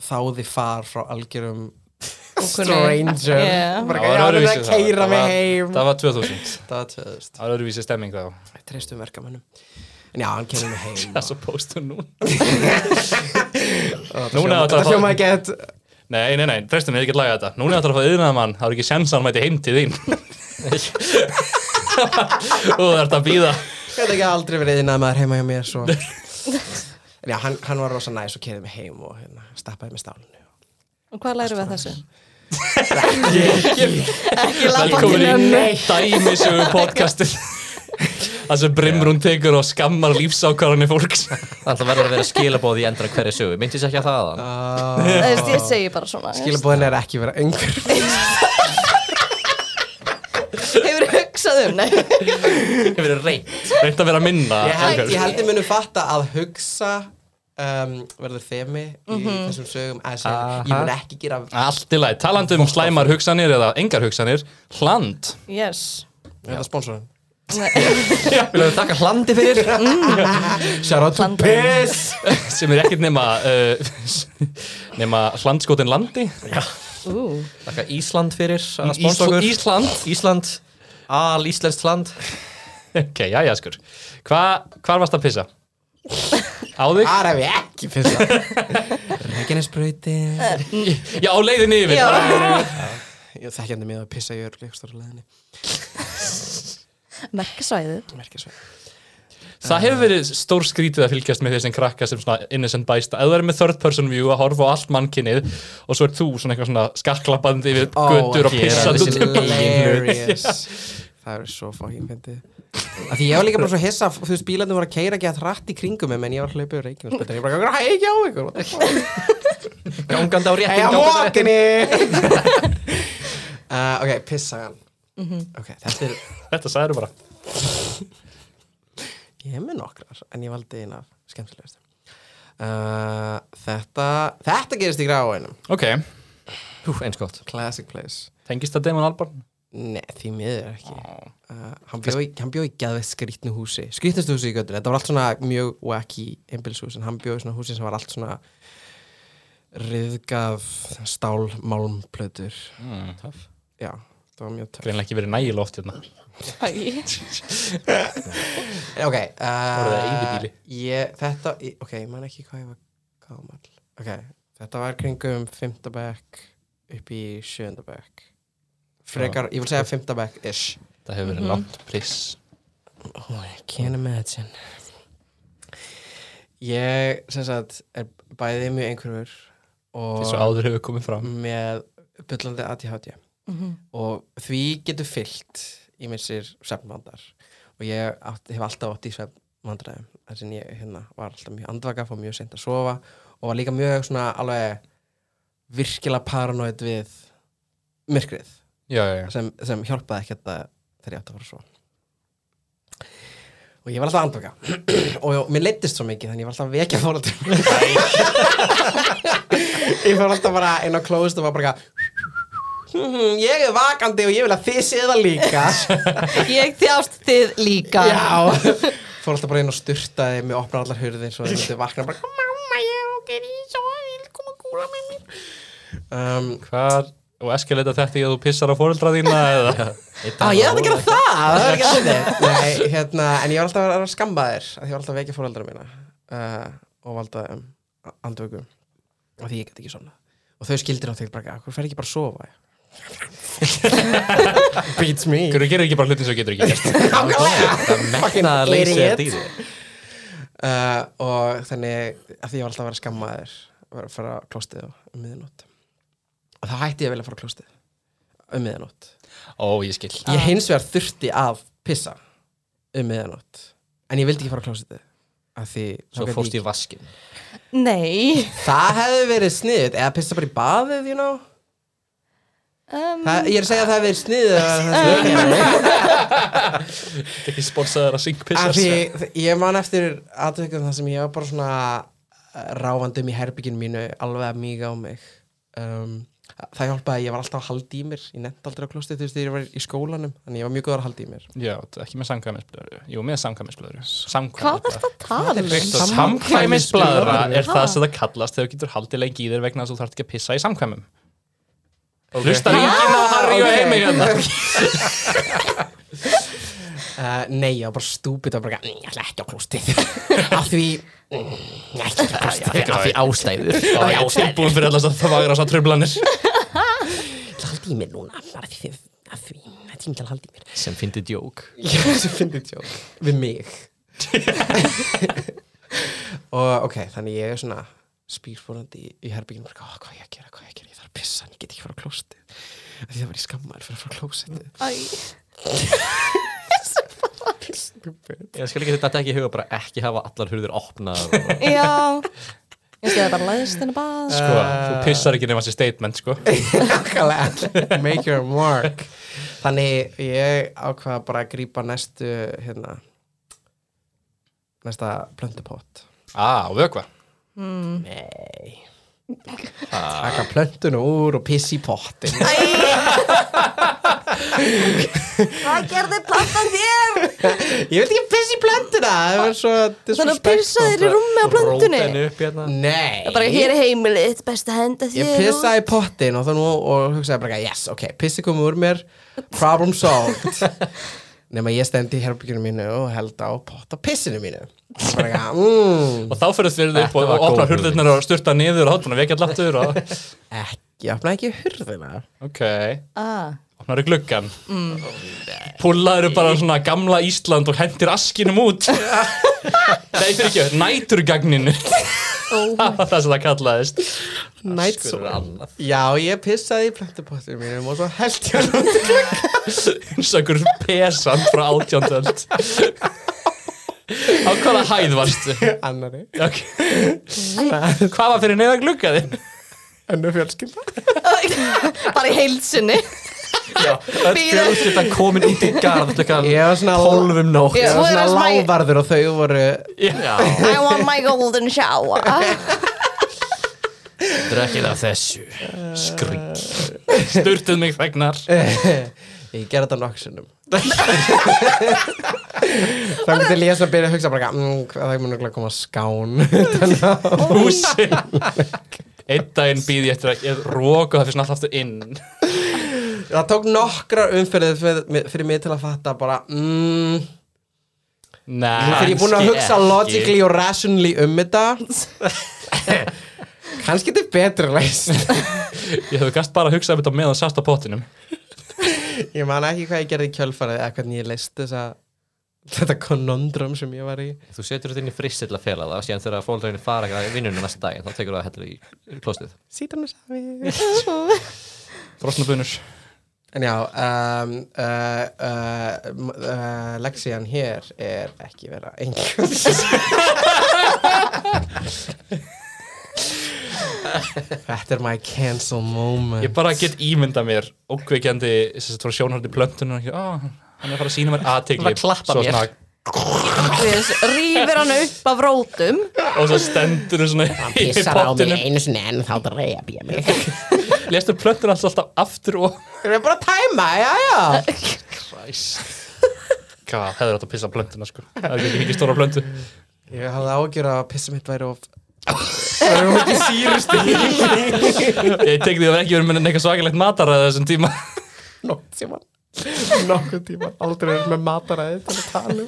S5: þáði far frá algjörum
S1: kunni-
S5: stranger
S1: Yeah.
S3: Það
S5: bara ekki
S3: var
S5: að
S3: öðruvísi
S5: að
S3: það.
S5: keira
S3: Það
S5: mig
S3: var-
S5: heim
S3: Það var 2000
S5: það var tvöðust
S3: Það var öðruvísi stemming þá
S5: treystum verkamannum en já, hann kemur mig heim
S3: Það er svo póstu nú
S5: og
S3: Núna þetta var-
S5: hljóma- þetta hljóma ekki að
S3: Nei, nei, nei, treystum ég get laga þetta Núna þarf að fá yðnaða mann, það er ekki sens að hann mæti heim til þín Og það ert að býða
S5: þetta ekki aldrei verið inn að maður heima hjá mér svo en já, hann, hann var rosa næs og keirði mig heim og hérna, stappaði mig stálinu
S1: Og hvað lærum við af þessu?
S3: Velkomin í dæmisögu podcastin Það sem Brimrún tekur og skammar lífsákvarðanir fólks
S2: alltaf verður að vera skilabóð í endra hverju sögu myndist ekki að það að
S1: Þú veist, Ég segi bara svona. þú veist.
S5: skilabóðin er ekki vera yngur
S1: Hefur hugsað um, nei?
S2: hefur verið reynd
S3: Reynt að vera minna
S5: Ég held,
S3: einhver.
S5: ég held ég munum fatta að hugsa um, verður þemi í þessum sögum að sem ég mun ekki gera
S3: Allt í lagi, talandi um slæmar hugsanir eða engar hugsanir, hland
S1: Yes.
S5: þetta sponsorin
S2: við höfum þakka hlandi fyrir
S5: Shout out to Piss
S3: sem er ekkert nema uh, nema hlandskotin landi
S1: Ú.
S2: þakka Ísland fyrir að sponsa
S3: Ísl-
S2: okkur
S3: Ísland
S2: Ísland al íslenskt land
S3: Ok, já, já, skur Hva, Hvar varst að pissa? Á þig?
S5: Þar hef ég ekki fyrst Reykjanesbrauti
S3: Já, á leiðinni yfir
S1: Já.
S5: Ég þekki henni með að pissa í örgleik stóra leðinni
S1: Merkisvæðið.
S5: Merkisvæð
S3: Það hefur verið stór skrítið að fylgjast með þessum krakka sem svona innocent bæsta eða verið með third person view að horfa á allt mannkinnið og svo er þú svona eitthvað svona skarklappandi yfir götur og pissandi um-
S5: This is hilarious Það er svo fucking fyndið Af Því ég var líka bara svo hissa Þú veist, bílarnir voru að keira ekki að rætt í kringum mig, En ég var hlaupið úr Reykjanesbrauti Ég bara, hvað er ekki á ykkur? What the fuck?
S2: gangandi á réttin
S5: Heia
S2: gangandi á réttin
S5: mótinni uh, Ok, pissagan Ok, þetta er
S3: Þetta sagður bara
S5: Ég hef með nokkrar, en ég valdi eina af skemmtilegast uh, Þetta Þetta gerist í gráinum
S3: Ok,
S2: Hú, eins gott
S5: Classic place
S3: tengist það Damon Albarn?
S5: Nei, því miður ekki uh, Hann bjó í, hann bjó í geðveitt skrýtnu húsi Skrýtnustu húsi í göttur, þetta var allt svona mjög wacky einbilshús, en hann bjó í svona húsi sem var allt svona riðgað stálmálmplötur
S3: Mm.
S5: Já, það var mjög töff
S3: Greinlega ekki verið nægilega oft hérna.
S1: Æ,
S5: Ok,
S3: Voru það eyðibýli?
S5: uh, ég, þetta ég- Ok, ég man ekki hvað ég var gamal Ok, þetta var kringum 5. bekk upp í 7. bekk Frekar, ég vil segja 5. bekk-ish
S3: Það hefur verið langt priss.
S5: Oh, I can't imagine Ég, sem sagt, er bæðið mjög einhverfur
S3: Þessu
S5: og
S3: áður hefur komið fram.
S5: með byllandi ADHD
S1: Mhm.
S5: og því getur fyllt í mér sér svefnvandar og ég átt, hef alltaf átt í svefnvandræðum þar sem ég hérna, var alltaf mjög andvaka fór mjög sent að sofa og var líka mjög svona alveg virkilega paranoid við myrkrið
S3: Já, já, já.
S5: sem, sem hjálpaði ekki þetta þegar ég átti að fara svo og ég var alltaf andvaka og já, mér leittist svo mikið þannig ég var alltaf að vekja fórhaldur ég fór alltaf bara inn á klóðust og var bara eitthvað, "Hmm, ég er vakandi og ég vil að þið séð það líka
S1: ég þjást þið líka
S5: já fór alltaf bara inn og sturtaði mig opnaði allar hurðir svo ég myndi vakna bara mamma ég er okkur í svo vil koma að kúla með mér um,
S3: Hvar, og eskileita þetta í að þú pissar á foreldra þína eða?
S5: Á, ég ætla að gera það, það er ekki að þið Nei, hérna, en ég var alltaf að vera að skamba þér að ég var alltaf að vekja fóröldra mína uh, og valda um, andvöku og því ég gæti ekki svona og þau skildir á þig bara, hvað fer ekki bara að sofa Beats me
S3: Hverju gerir ekki bara hlutin sem þú getur ekki gert?
S2: Það metnaða að leysi
S5: Idiot.
S2: þetta í því
S5: uh, og þannig að því ég var alltaf að vera að skamma þér að vera að fara á klostið á um miðanótt og þá hætti ég að vilja fara á klostið um miðanótt
S3: Ó, ég skil.
S2: Ah.
S5: Ég hins vegar þurfti að pissa um miðanótt en ég vildi ekki fara á klósitið af því þá
S2: Svo
S5: gat
S2: fórst
S5: ég-
S2: í vaskin
S1: Nei
S5: Það hefði verið sniðið eða pissa bara í baðið, you know
S1: um,
S5: það, Ég er að segja að það hefði verið sniðið að það hefði verið
S3: Þetta er ekki sponsaður að syng pissar.
S5: Af því ég man eftir aðtökum það sem ég var bara svona eh, ráfandi um í herbygginu mínu alveg að míga á mig um, Það hjálpaði að ég var alltaf að halda í mér ég nefndi aldrei á klósitið þú veist þegar ég var í skólanum þannig ég var mjög góður að halda í mér
S3: Já, ekki með samkvæmisblöðru. Jú, með samkvæmisblöðru.
S1: Hvað er þetta að tala? um?
S3: Viktor, samkvæmisbladra er það sem það kallast þegar þú getur haldið lengi í þér vegna þess að þú þarft ekki að pissa í samkvæmum Hlustar enginn á Harry og heimi hérna
S5: Uh, nei, ég var bara stúpid og bara, "Mm, ég ætla ekki á klóstið af því, "Mm, ég ætla ekki á klóstið
S2: Af því ástæður
S3: Það er tilbúin fyrir allast að það vagra svo tröflanir
S5: ég ætla að halda í mér núna af því, af því, það er tími til að halda í mér
S2: Sem fyndi djók
S5: ég er sem fyndið tjók við mig og ok, þannig ég er svona spýrfórandi í, í herbygginu bara, "Ó, hvað á ég að gera, hvað á ég að gera, ég þarf að pissa en ég get ekki fara á klóstið af því það var í skammaður fyrir að fara á klóstið
S1: Æ,
S2: Ég skal ekki þetta ekki í huga bara ekki hafa allar hurðir opnað og-
S1: Já Ég sé það bara læðist henni bað
S3: Sko, þú pissar ekki nema sér statement, sko
S5: Nákvæmlega, make your mark Þannig ég ákvaða bara að grípa næstu hérna næsta plöntupott
S3: Ah, og vökva
S5: Nei Taka plöntuna úr og piss í pottin
S1: Hvað gerði plantan þér?
S5: Ég vildi ekki piss í plöntuna Það var svo
S1: Þannig að pissa þér í
S5: disrespectful.
S1: rúmi á plantunni
S2: Rót henni upp hérna
S5: Nei
S1: Bara hér er heimilið, þitt, best að henda þér
S5: Ég pissaði í pottin og þá nú og hugsaði bara yes, ok, pissi komið úr mér problem solved nema ég stendi í herbygginu mínu og held á potta pissinu mínu bara eitthvað, mmm
S3: Og þá fyrir þér upp
S2: Þetta
S3: og
S2: var
S3: og opnar
S2: góð
S3: hurðirnar og sturta niður og hóttan og vekja allaftur og
S5: ekki, ég opnaði ekki hurðina
S3: Ok,
S1: ah.
S3: opnar gluggan Púlaður bara svona gamla Ísland og hendir askinum út Nei, fyrir ekki, næturgagninu
S1: oh.
S3: Það var það sem það kallaðist
S5: Nightsol
S2: er annað.
S5: Já, ég pissaði í plöntupottinu mínum og svo held ég hann út
S3: eins og einhver pesan frá átjóndöld á hvaða hæð varstu
S5: annari
S3: okay. hvað var fyrir neða gluggaðin
S5: Önnu fjölskylda
S1: Bara í heilsinni Bíða.
S2: Fjölskylda komin út í garð klukkan
S5: Ég var svona
S2: tólf um nótt
S1: Já.
S5: Ég
S1: Svo
S5: var
S1: er
S5: svona
S1: það smæ-
S5: lávarður og þau voru
S2: Já,
S1: I want my golden shower
S2: drekkið af þessu Skrýt
S3: sturtuð mig þegnar
S5: Ég gerði þetta nokksunum Þannig til ég sem byrja að hugsa bara mm, hvað það mun að koma skán
S3: húsin einn daginn býði ég eftir að ég róku það fyrir svona alltaf aftur inn
S5: Það tók nokkra umferðið fyrir, fyrir mig til að fatta bara mm,
S3: Nei,
S5: Nú þegar ég er búin að
S2: Kannski
S5: hugsa
S2: ekki.
S5: logically og rationally um þetta Kannski þetta er betur leist
S3: ég hefði gæst bara að hugsa um þetta meðan sast á pottinum
S5: Ég man ekki hvað ég gerði í kjölfarið eða hvernig ég leist þessa þetta konundrum sem ég var í
S2: Þú setur þetta inn í frist til að fela það síðan þegar fólkdraginni fara ekki að vinnunum næsta dag þá tekur það heldur í klostið
S5: Sítanasafi
S3: frosnabunur
S5: En já, um, uh, uh, uh, leksían hér er ekki vera einhvern Þetta er my cancel moment
S3: ég bara get ímynda mér ókveikjandi þess að það var sjónhaldi plöntunar og ah, hann er að fara að sína mér aðtegli
S2: Bara klappa mér.
S1: rýfir hann upp af rótum
S3: og svo stendur hún svona í pottinum
S4: einu sinni en þá drep ég mig
S3: lestur plöntunar alltaf aftur og
S5: Ég er bara að tæma, já, já
S3: Christ hvað, hefði þetta að pissa á plöntuna sko það er ekki mikið stóra plöntu
S5: Ég hafði ágjör að pissa mitt væri of Það er ekki sírusti
S3: ég tek því að það var ekki verið með eitthvað svakalegt matar að þessum tíma
S5: Nótt tíma Nótt tíma, aldrei verið með mataræði til að tala um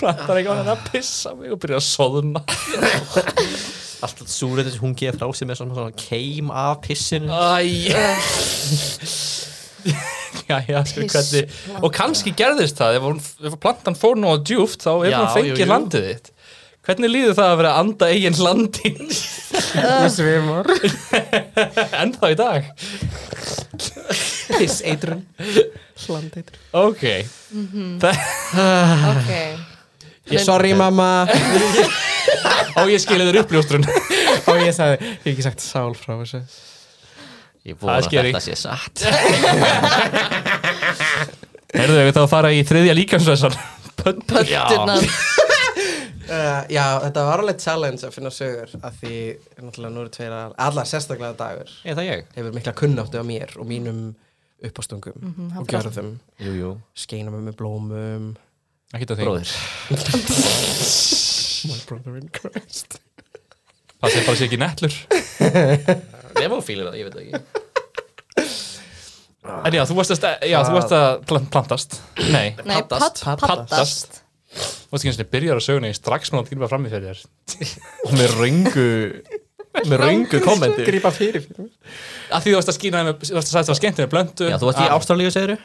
S3: plantar ekki á hann að pissa á mig og byrja að soðna
S2: Alltaf súrið hún geði frá sig með svona, svona keim af pissinu
S3: Æj Já, já, sko, hvernig Og kannski gerðist það, ef, hún, ef plantan fór nú á djúft þá hefur
S2: Já,
S3: hún fengið
S2: jú, jú.
S3: landið þitt Hvernig líður það að vera að anda eigin landin
S5: Ég svimar
S3: ennþá í dag?
S5: Piss eitrun Hland eitrun
S3: Ok,
S1: ok,
S5: Sorry mamma
S3: og ég skilja þér uppljóstrun
S5: og ég sagði, ég hef ekki sagt sál frá þessu
S2: Ég vona
S3: Það er
S2: að
S3: scary.
S2: þetta sé satt
S3: Herðu, ég þá að fara í þriðja líkansvesan
S1: pöttunan
S5: uh, já, þetta var alveg challenge að finna sögur af því, náttúrulega nú eru tveir að- allar sérstaklega dagur
S2: Er það ég?
S5: hefur mikla kunnáttu á mér og mínum uppástungum
S1: Mm,
S5: og gjörðum
S2: Jú, jú,
S5: skeina mig með blómum
S3: Ekki það þig,
S2: bróðir
S5: my brother in Christ
S3: passið bara sér ekki netlur
S2: Nefnum fílir það, ég veit það ekki
S3: En já, þú varst að, sta- já, þú varst að plan- plantast Nei,
S1: nei,
S2: Paddast.
S1: paddast, paddast.
S3: þú veist ekki eins og byrjar að söguna í strax með að grípa fram í fyrir þér og með röngu með röngu kommenti
S5: grípa fyrir fyrir mig
S3: að því þú varst að skýna með, þú varst að sagði það var skemmt með blöndu Ah,
S2: Já, þú varst í Ástralíu, segirðu?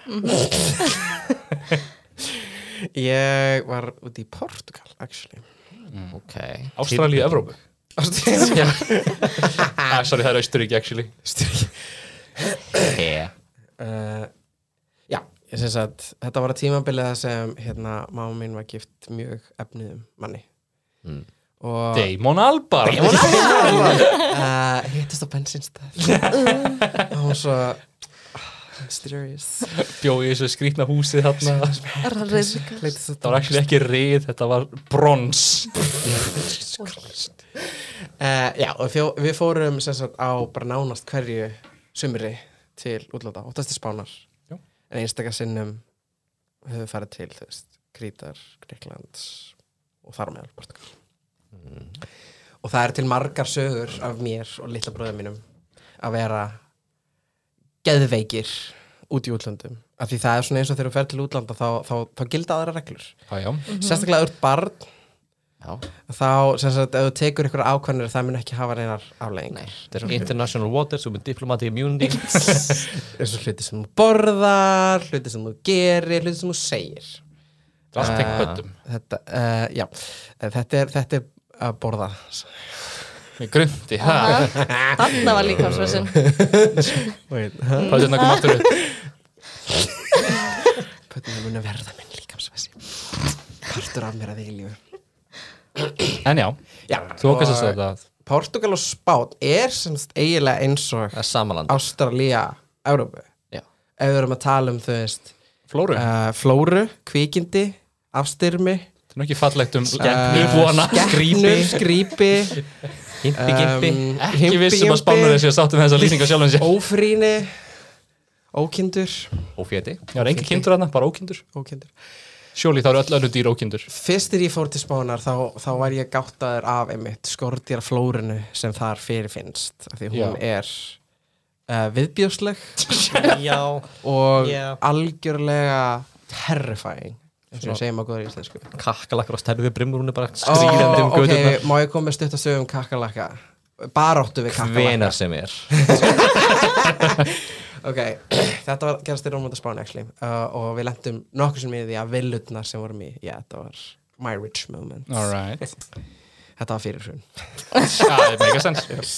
S5: ég var úti í Portugal, actually
S2: Ok
S3: Ástralíu, Evrópu
S2: Já.
S3: ah, sorry, það er Austuríki actually
S2: He.
S5: uh, já, ég syns að þetta var að tímabiliða sem hérna, máma mín var gift mjög efniðum manni
S2: Mm.
S5: og
S3: Damon Albarn
S5: uh, hittist á bensinstæð og hún svo ah, mysterious
S3: bjóði í þessu skrýtna húsi þarna það
S1: Er hann reyðsvíkast?
S5: leitist þetta
S3: var actually ekki rið, þetta var brons
S5: uh, já, og fjó, við fórum sem sagt á bara nánast hverju sumri til útlanda, óttast til Spánar
S3: Já.
S5: en einstakar sinnum höfum við farið til, þú veist, Krítar Greiklands og þar á meðal Portugal og það er til margar sögur af mér og litla bróðum mínum að vera geðveikir út í útlöndum af því það er svona eins og þegar þú fer til útlanda þá, þá, þá gilda aðra reglur
S2: Ah,
S3: já, já,
S5: sérstaklega ef þú ert barn
S2: Mhm. Já,
S5: þá, sem sagt, ef þú tekur ykkur ákvæmur það mun ekki hafa reynar afleggingar
S2: þetta er International Waters og með Diplomatic Immunity
S5: eins og hluti sem þú borðar hluti sem þú gerir, hluti sem þú segir
S3: það er allt tengt höndum
S5: þetta, uh, já eh, þetta er, þetta er að borða
S3: ég grunti, ha,
S1: Þarna var líkamsvessin
S5: Wait,
S3: hvað er þetta kom aftur upp
S5: pötnum mun að verða minn líkamsvessi partur af mér að eilífu
S3: en já,
S5: já,
S3: þú okkar
S5: Ah.
S3: sér þetta
S5: Portugal og Spán er semst eiginlega eins og
S2: Það er samanland
S5: Ástralía, Európu
S2: Já.
S5: ef við erum að tala um, þú veist
S3: Flóru,
S5: uh, flóru, kvikindi afstyrmi,
S3: þetta er nú ekki fallegt um
S5: Eh,
S3: íbúana,
S5: skrípi, skrípi
S2: Himpi, gimpi
S5: um,
S3: um ekki vissum að spánur þessi að sáttum þessa lýsingar sjálfum sér
S5: ófríni Ókindur,
S2: Óféti
S3: Já, er engin kindur þarna, bara ókindur
S5: ókindur.
S3: Sjóli, þá eru öll önnur dýr ókindur
S5: Fyrst þegar ég fór til Spánar þá, þá var ég gáttaður af einmitt skordýraflórinu sem þar fyrirfinnst af því hún er uh, viðbjósleg
S6: Já,
S5: og
S6: Já.
S5: algjörlega terrifying eins og við segjum á góður íslensku
S2: Kakkalakkar á stærfi brimur, hún er bara
S5: Ó,
S2: skrýðandi um
S5: ok,
S2: gödurnar
S5: má ég koma með stutt að sögum kakalakka baróttu við kakalakka
S2: Hvenar sem er
S5: ok, þetta var gerast í Rómönda Spán actually uh, og við lentum nokkur sem í því að villutnar sem vorum í, já þetta var my rich moment,
S3: Alright
S5: þetta var fyrir hrun
S3: Það er megasens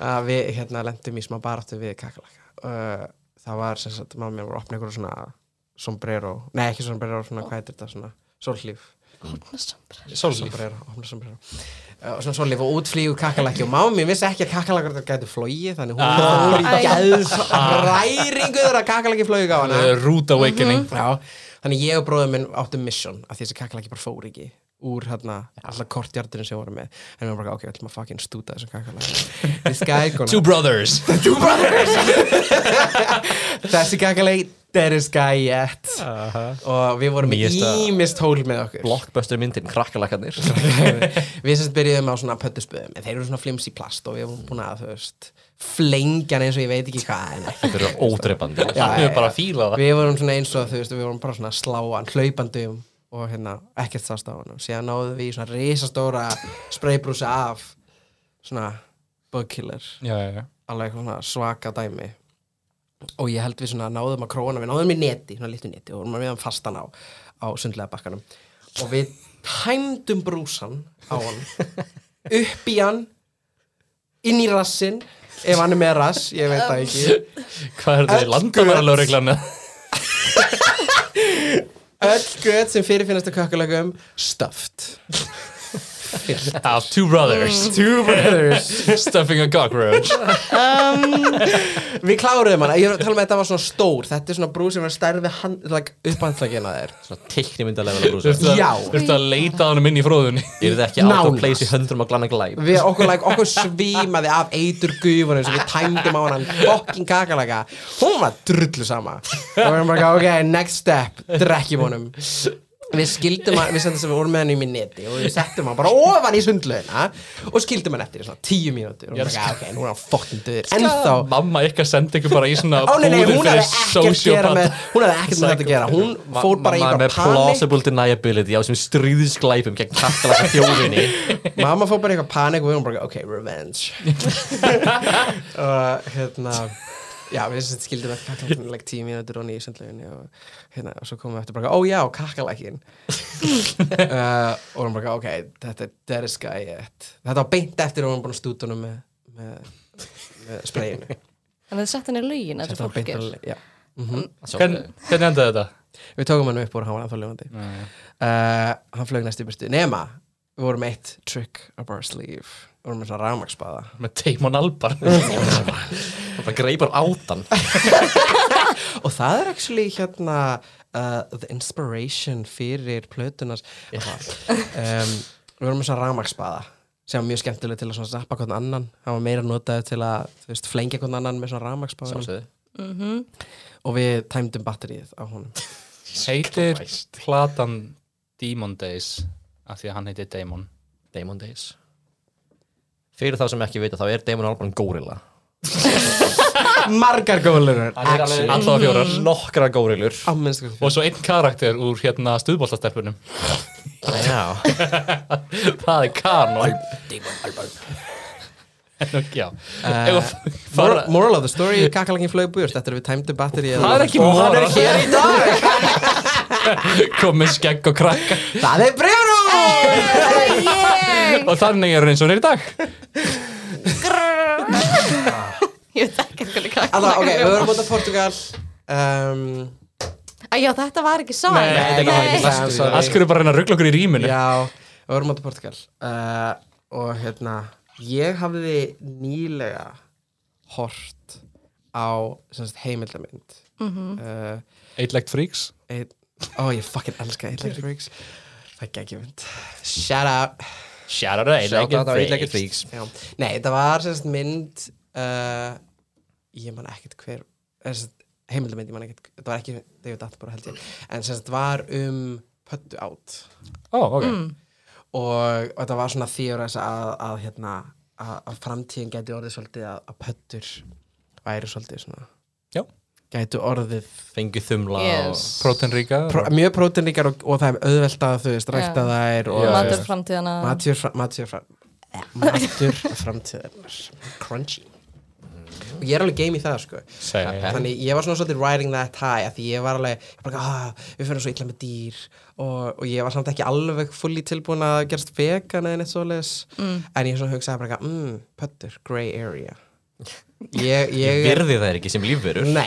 S5: uh, við hérna lentum í smá baróttu við kakalakka uh, það var sem sagt, mamma mér var að opna einhverjum svona sombrero, nei ekki sombrero svona, hvað heitir þetta svona, sólhlíf
S3: Sólíf
S5: sombrero, opna sombrero Uh, og svona svolítið og útflýgu kakalækki og mámi mér vissi ekki að kakalækkar gætu flóið þannig hún fór í gæðs ræringu þegar að kakalækki flóið gá hana
S3: Root Awakening
S5: Já, þannig ég og bróðum minn áttum mission að þessi kakalaki bara fór ekki úr hérna alltaf kortjardurinn sem við vorum með en við varum bara ok, við ætlum að fucking stúta þessum kakalaki This guy gonna
S3: Two brothers
S5: Two brothers Þessi kakalaki there is guy yet og við vorum með
S2: Nýjasta-
S5: ímist hól með okkur
S2: Blockbuster myndin, krakkalakkarnir
S5: við sérst byrjuðum á svona pöttuspöðum en þeir eru svona flimsi plast og við vorum búin að þú veist flengjan eins og ég veit ekki hvað en
S2: Þetta eru ódreifandi
S3: Við erum bara að fíla það
S5: við vorum svona eins og þú veist við vorum bara svona sláan, hlaupandi um og hérna ekkert sást á hann síðan náðum við í svona risastóra spraybrúsa af svona bugkiller
S3: Já, já, já
S5: alveg eitthvað svona svaka dæmi og ég held við svona náðum að króna við náðum í neti, svona lítu neti og vorum meðan fastan á, á sundlega bakkanum og við tæmdum brúsan á hann upp í hann inn í rassin ef hann er með rass, ég veit það ekki
S3: Hvað er þetta?
S5: Öll
S3: Landamæralögreglan
S5: öll gött sem fyrirfinnast að kakkalögum stuffed
S3: Of two brothers
S5: two brothers
S3: Stuffing a cockroach
S5: við kláruðum hana, ég er að tala um að þetta var svona stór þetta er svona brú sem er stærði hand, like, upp handlækina þér
S2: Svona teiknimyndalega brúsa
S3: Þurftu að-
S5: Já.
S3: Þurftu að leita honum inn í fróðunni
S2: Eru þið ekki out of
S5: Nánast.
S2: place í höndrum á glanna glæp
S5: við, okkur, like, okkur svímaði af eitur gufunum sem við tæmdum á hann fokkin kakalega, hún var drullu sama og við erum bara, ok, next step drekkjum honum við skildum hann, við sendum sem við vorum með hann í minn neti og við settum hann bara ofan í sundlauna og skildum hann eftir í svona tíu mínútur og við bara, ok, nú er hann fokkin döður ennþá
S3: Mamma ykkar sendi ykkur bara í svona
S5: Ó, nei, nei,
S3: búðir fyrir
S5: hún hafði ekkert gera
S3: sociopata.
S5: með hún hafði ekkert með þetta að gera hún fór bara í
S2: Mamma
S5: eitthvað
S2: með
S5: panik
S2: plausible deniability á þessum stríðisglæpum gegn kakkalakka þjóðinni
S5: mamma fór bara í eitthvað panik og við hún bara ok, revenge og hérna já, við sem sagt skildum eftir kakalakin like tíu mínútur og nýju sundleginni og hérna, og svo komum við eftir bara, ó já, kakalakin uh, og hún bara ok, þetta er deriska í ett þetta var beint eftir og hún var búin að stúta honum með, með, með spreyinu
S1: En þið sett henni lögin, þetta
S5: þetta var
S1: fólk
S5: beint
S1: er.
S5: að, já Mhm.
S3: Hvern- Hvernig endaði þetta?
S5: Við tókum hann upp og hann var ennþá lifandi uh, Hann flög næst í burtu Nema, við vorum með eitt trick up our sleeve Við vorum með svona rámaksbaða
S3: Með Teimon Albar
S2: Það bara greipar átan
S5: Og það er actually hérna uh, The inspiration fyrir plötunars um, Við vorum með svona rámaksbaða sem var mjög skemmtileg til að svona zappa hvern annan hann var meira notaður til að þú veist, flengja hvern annan með svona rámaksbaðunum
S2: Sjálfsögðu.
S5: og við tæmdum batterið á honum
S3: Heitir platan Demon Days af því að hann heitir Damon
S2: Demon Days Fyrir þá sem ekki vita þá er Demon Albarn górilla
S5: Margar góðlunar
S3: Alltaf fjórar
S2: Nokkra górilur
S5: á minnstu
S3: Og svo einn karakter úr hérna stuðbóltastelpunum
S2: Já
S3: Það er kanon Demon Albar Já Ef að fara-
S5: Moral, moral of the story, kakalakin flög burt eftir að við tæmdum batterið
S3: Það er ekki
S5: er
S3: moral
S5: hér í dag
S3: Komið skegg og krakka
S5: Það er Brynrún
S3: Og þannig er hann eins og hann er í dag
S1: Ég veit ekki hvernig kakka.
S5: Alltaf, ok, við vorum bóta Portugal um,
S1: Já, þetta var ekki sæl.
S3: Nei, þetta er ekki
S5: Nei.
S3: hægt
S5: I'm sorry.
S3: Askur er bara að reyna að ruggla okkur í rýminu
S5: Já, við vorum bóta Portugal uh, Og hérna Ég hafði nýlega hort á sem sagt, heimildamind uh,
S3: Eitlegt fríks
S5: ein, Ó, ég fucking elska Eitlegt Freaks Það er geggjumund Shout out
S3: Shout out to
S2: Sjáttan á
S3: Eitlegt
S2: Eitlegget
S3: fríks
S2: Freaks
S5: Já. Nei, þetta var sérst mynd uh, ég man ekkert hver sérst, heimildamind, ég man ekki, þetta var ekki David Attenborough held ég, en sem þetta var um pöttu átt
S3: Ó, ok.
S1: Mm,
S5: og, og þetta var svona þýjuræs að, að hérna að, að framtíðin gæti orðið svolítið að, að pöttur væri svolítið svona
S3: Já.
S5: gæti orðið
S2: fengið þumla
S1: Yes.
S3: Prótenríka.
S5: pró, mjög prótinríkar og, og það er auðvelt að þú veist rækta
S1: Já.
S5: þær
S3: Já,
S5: og
S3: já,
S1: matur
S3: já.
S1: framtíðana
S5: Matur, fra, matur, fra, matur framtíðarnar Crunchy Og ég er alveg game í það sko
S3: Same.
S5: Þannig ég var svona svolítið riding that high af Því ég var alveg, ég bara, ah, við fyrir svo illa með dýr og, og ég var samt ekki alveg fulli tilbúin að gerast vegan eða neitt svoleiðis mm. En ég svona hugsaði bara, eitthvað, mm, pöttur, grey area Ég,
S2: ég
S5: ég
S2: virði það ekki sem lífverur
S5: Nei,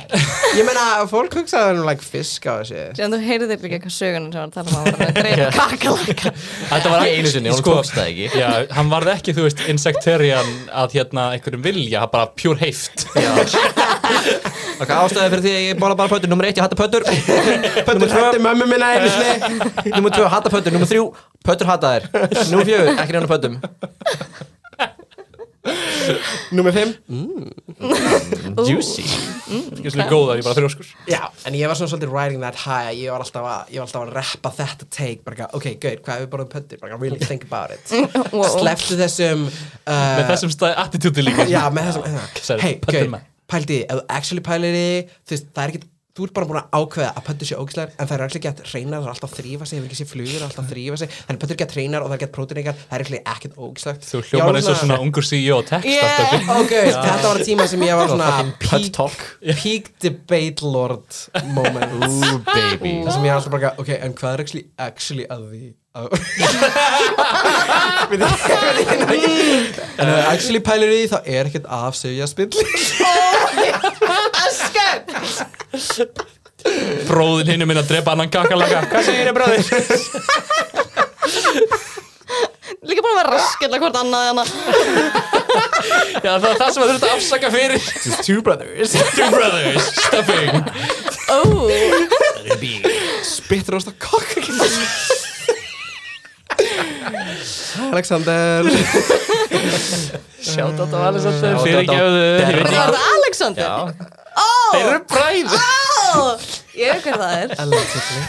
S5: ég meina, fólk hugsaði um like, fisk á þessi
S1: Síðan þú heyrðir líka eitthvað sögunar sem var að tala um að hann var að dreifa kakalaka
S2: þetta var ekki einu sinni, hún
S3: Sko-
S2: tókst það ekki
S3: Já, hann varð ekki, þú veist, insectarian að hérna einhverjum vilja, hann bara pure heift.
S2: ok, ástæði fyrir því að ég bóla bara pötur nummer 1, ég hatta pötur
S5: Pöttur
S2: nummer
S5: hrætti
S2: 2,
S5: mömmu minna einu sinni
S2: nummer 2, hatta pötur nummer 3, pötur hatta þær nummer 4, ekki reyna pötum
S5: Númer 5
S2: Mm. juicy
S3: Ég slið góðar, ég bara þrjóskur.
S5: Já, en ég var svona svolítið riding that high ég var alltaf að, ég var alltaf að reppa þetta take bara, eitthvað, ok, good, hvað hefur borðum pöndir bara, really think about it
S1: Mm. Wow.
S5: sleftu þessum uh,
S3: Með þessum stæði attitúti líka.
S5: já, með þessum,
S3: Sorry,
S5: hey,
S3: pöddur
S5: good,
S3: maður.
S5: pældi ef þú actually pælir því, þú veist, það er ekki þú ert bara búin að ákveða að pöndur sé ógislegar en það er ekki að reyna, það er alltaf að þrýfa sig ef ekki sé flugur, það er alltaf að þrýfa sig þannig pöndur er ekki að reyna og það er ekki að prótinningar, það er ekki ekkert ógislegt
S3: Þú hljómar eins og svona ungur CEO og text
S1: Yeah.
S3: alltaf.
S5: ok, þetta var tíma sem ég var svona
S2: pöt
S5: peak,
S2: talk
S5: peak debate lord moment
S2: ooh baby
S5: Það sem ég er alltaf bara, ok, en hvað er actually, actually að því að Við það er ekki En ef actually pælir í því, þá er ekkert af segja spilli
S3: Bróðin hinn er minn að drepa annan kakalaka. Hvað segir þið, bróðir?
S1: Líka bara að vera raskilla hvort annað hérna. en að
S3: Já, það er það sem þú þurft að afsaka fyrir.
S5: Just two brothers
S3: Two brothers, stuffing.
S1: Ó,
S5: Spittur ást að kokka Alexander
S3: Sjátt á þetta alveg satt þegar
S2: Shout out
S3: fyrir
S1: var
S3: ekki að þau, ég veit ekki.
S1: það Alexander?
S2: Já.
S1: Ó,
S3: Þeir eru bræði.
S1: ó, ég veit hver það er
S5: Allegedly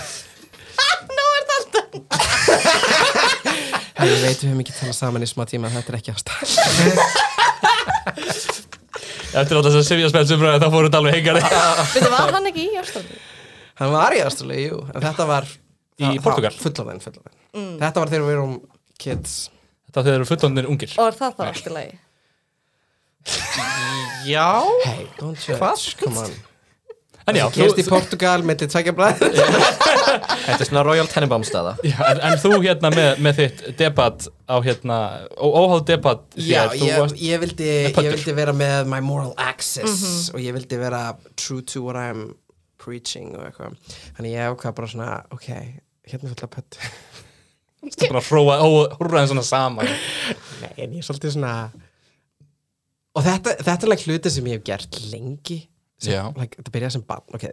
S1: Nú er það alltaf
S5: Herri, Ég veit við höfum ekki talað saman í smá tíma, þetta er ekki ástæð
S3: Eftir alltaf þess að Sivja spelt sem bræði, þá fóruð þetta alveg hengari.
S1: Veitu, var hann ekki í Ástralíu?
S5: Hann var í ástæðlega, jú, en þetta var
S3: Í Portúgal?
S5: Fullorðin, fullorðin Þetta var þegar við erum kids
S3: Þetta þegar eru fullonir ungir.
S1: Og er það þá allt í lagi?
S2: já
S5: Hey, don't judge, Hvað? come on
S3: En já, þú,
S5: Kyrst í Portugal, myndi tækja blæð
S2: þetta er svona Royal Tenenbaum staða
S3: Já, en, en þú hérna með, með þitt debat á hérna, ó- óháð debat
S5: Já,
S3: þú
S5: ég,
S3: varst,
S5: ég, vildi, ég
S3: pöddur.
S5: vildi vera með my moral axis og ég vildi vera true to what I'm preaching og eitthvað Þannig ég ákvað bara svona, ok, hérna fulla pött
S3: þú bara hróa, ó, húrraðin svona saman
S5: Nei, en ég er svolítið svona Og þetta, þetta er like hluti sem ég hef gert lengi sem,
S3: Já.
S5: like, Þetta byrjaði sem barn, ok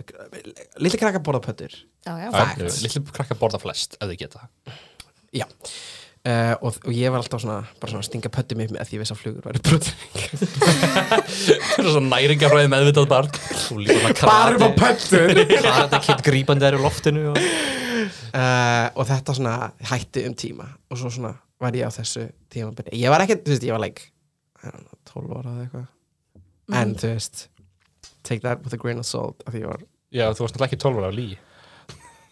S5: Lítið krakka borða pöttur
S1: Já, já
S5: Facts.
S3: Lillu krakka eh, borða flest, ef þið geta
S5: Já Uh, og, og ég var alltaf svona, bara svona að stinga pöttum upp með að því ég veist að flugur væri brotning
S3: Það er svona næringafræði meðvitað barn
S2: þú líka svona
S5: bara upp á
S2: karate
S5: pöttur
S2: karate kitt grípandi þær í loftinu og...
S5: uh, og þetta svona hætti um tíma og svo svona var ég á þessu tímabili ég var ekki, þú veist, ég var like I don't know, 12 ára eða eitthvað en þú veist, take that with a grain of salt af því ég var,
S3: Já, þú varst náttúrulega ekki 12 ára á lí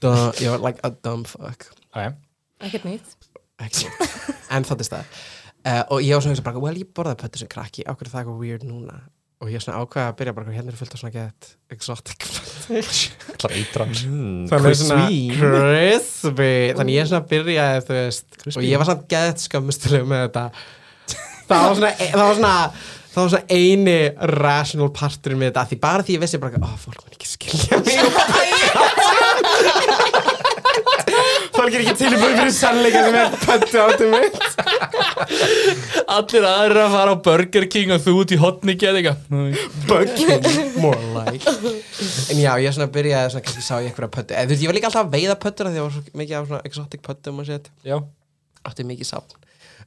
S5: duh, ég var like a dumb fuck
S3: Æ,
S1: Ekkert nýtt
S5: ekki, en það er stað uh, og ég var svona, hugsa bara, well, ég borðaði pöttu sem krakki ákveður það er eitthvað weird núna og ég svona ákvaði að byrja bara, hérna er fullt af svona get exotic
S3: Það er eitran
S2: hmm,
S5: Þannig svona crispy Þannig ég svona byrjaði þú veist Og ég var samt geðt skammustileg með þetta Það var svona e, Það var svona Það var svona eini rational parturinn með þetta af Því bara því ég vissi bara Ó, fólk mun ekki skilja mig Fólk er ekki tilbúið fyrir sannleika sem er pöntu áttum mitt
S3: Allir aðra fara á Burger King og þú út í hotni geðinga
S5: Bugging, more like En já, ég svona byrjaði svona kannski sá ég einhverja pöttu En þú veist, ég var líka alltaf að veiða pöttur af Því ég var svo mikið af svona exotic pöttum og sétt
S3: Já,
S5: átti mikið safn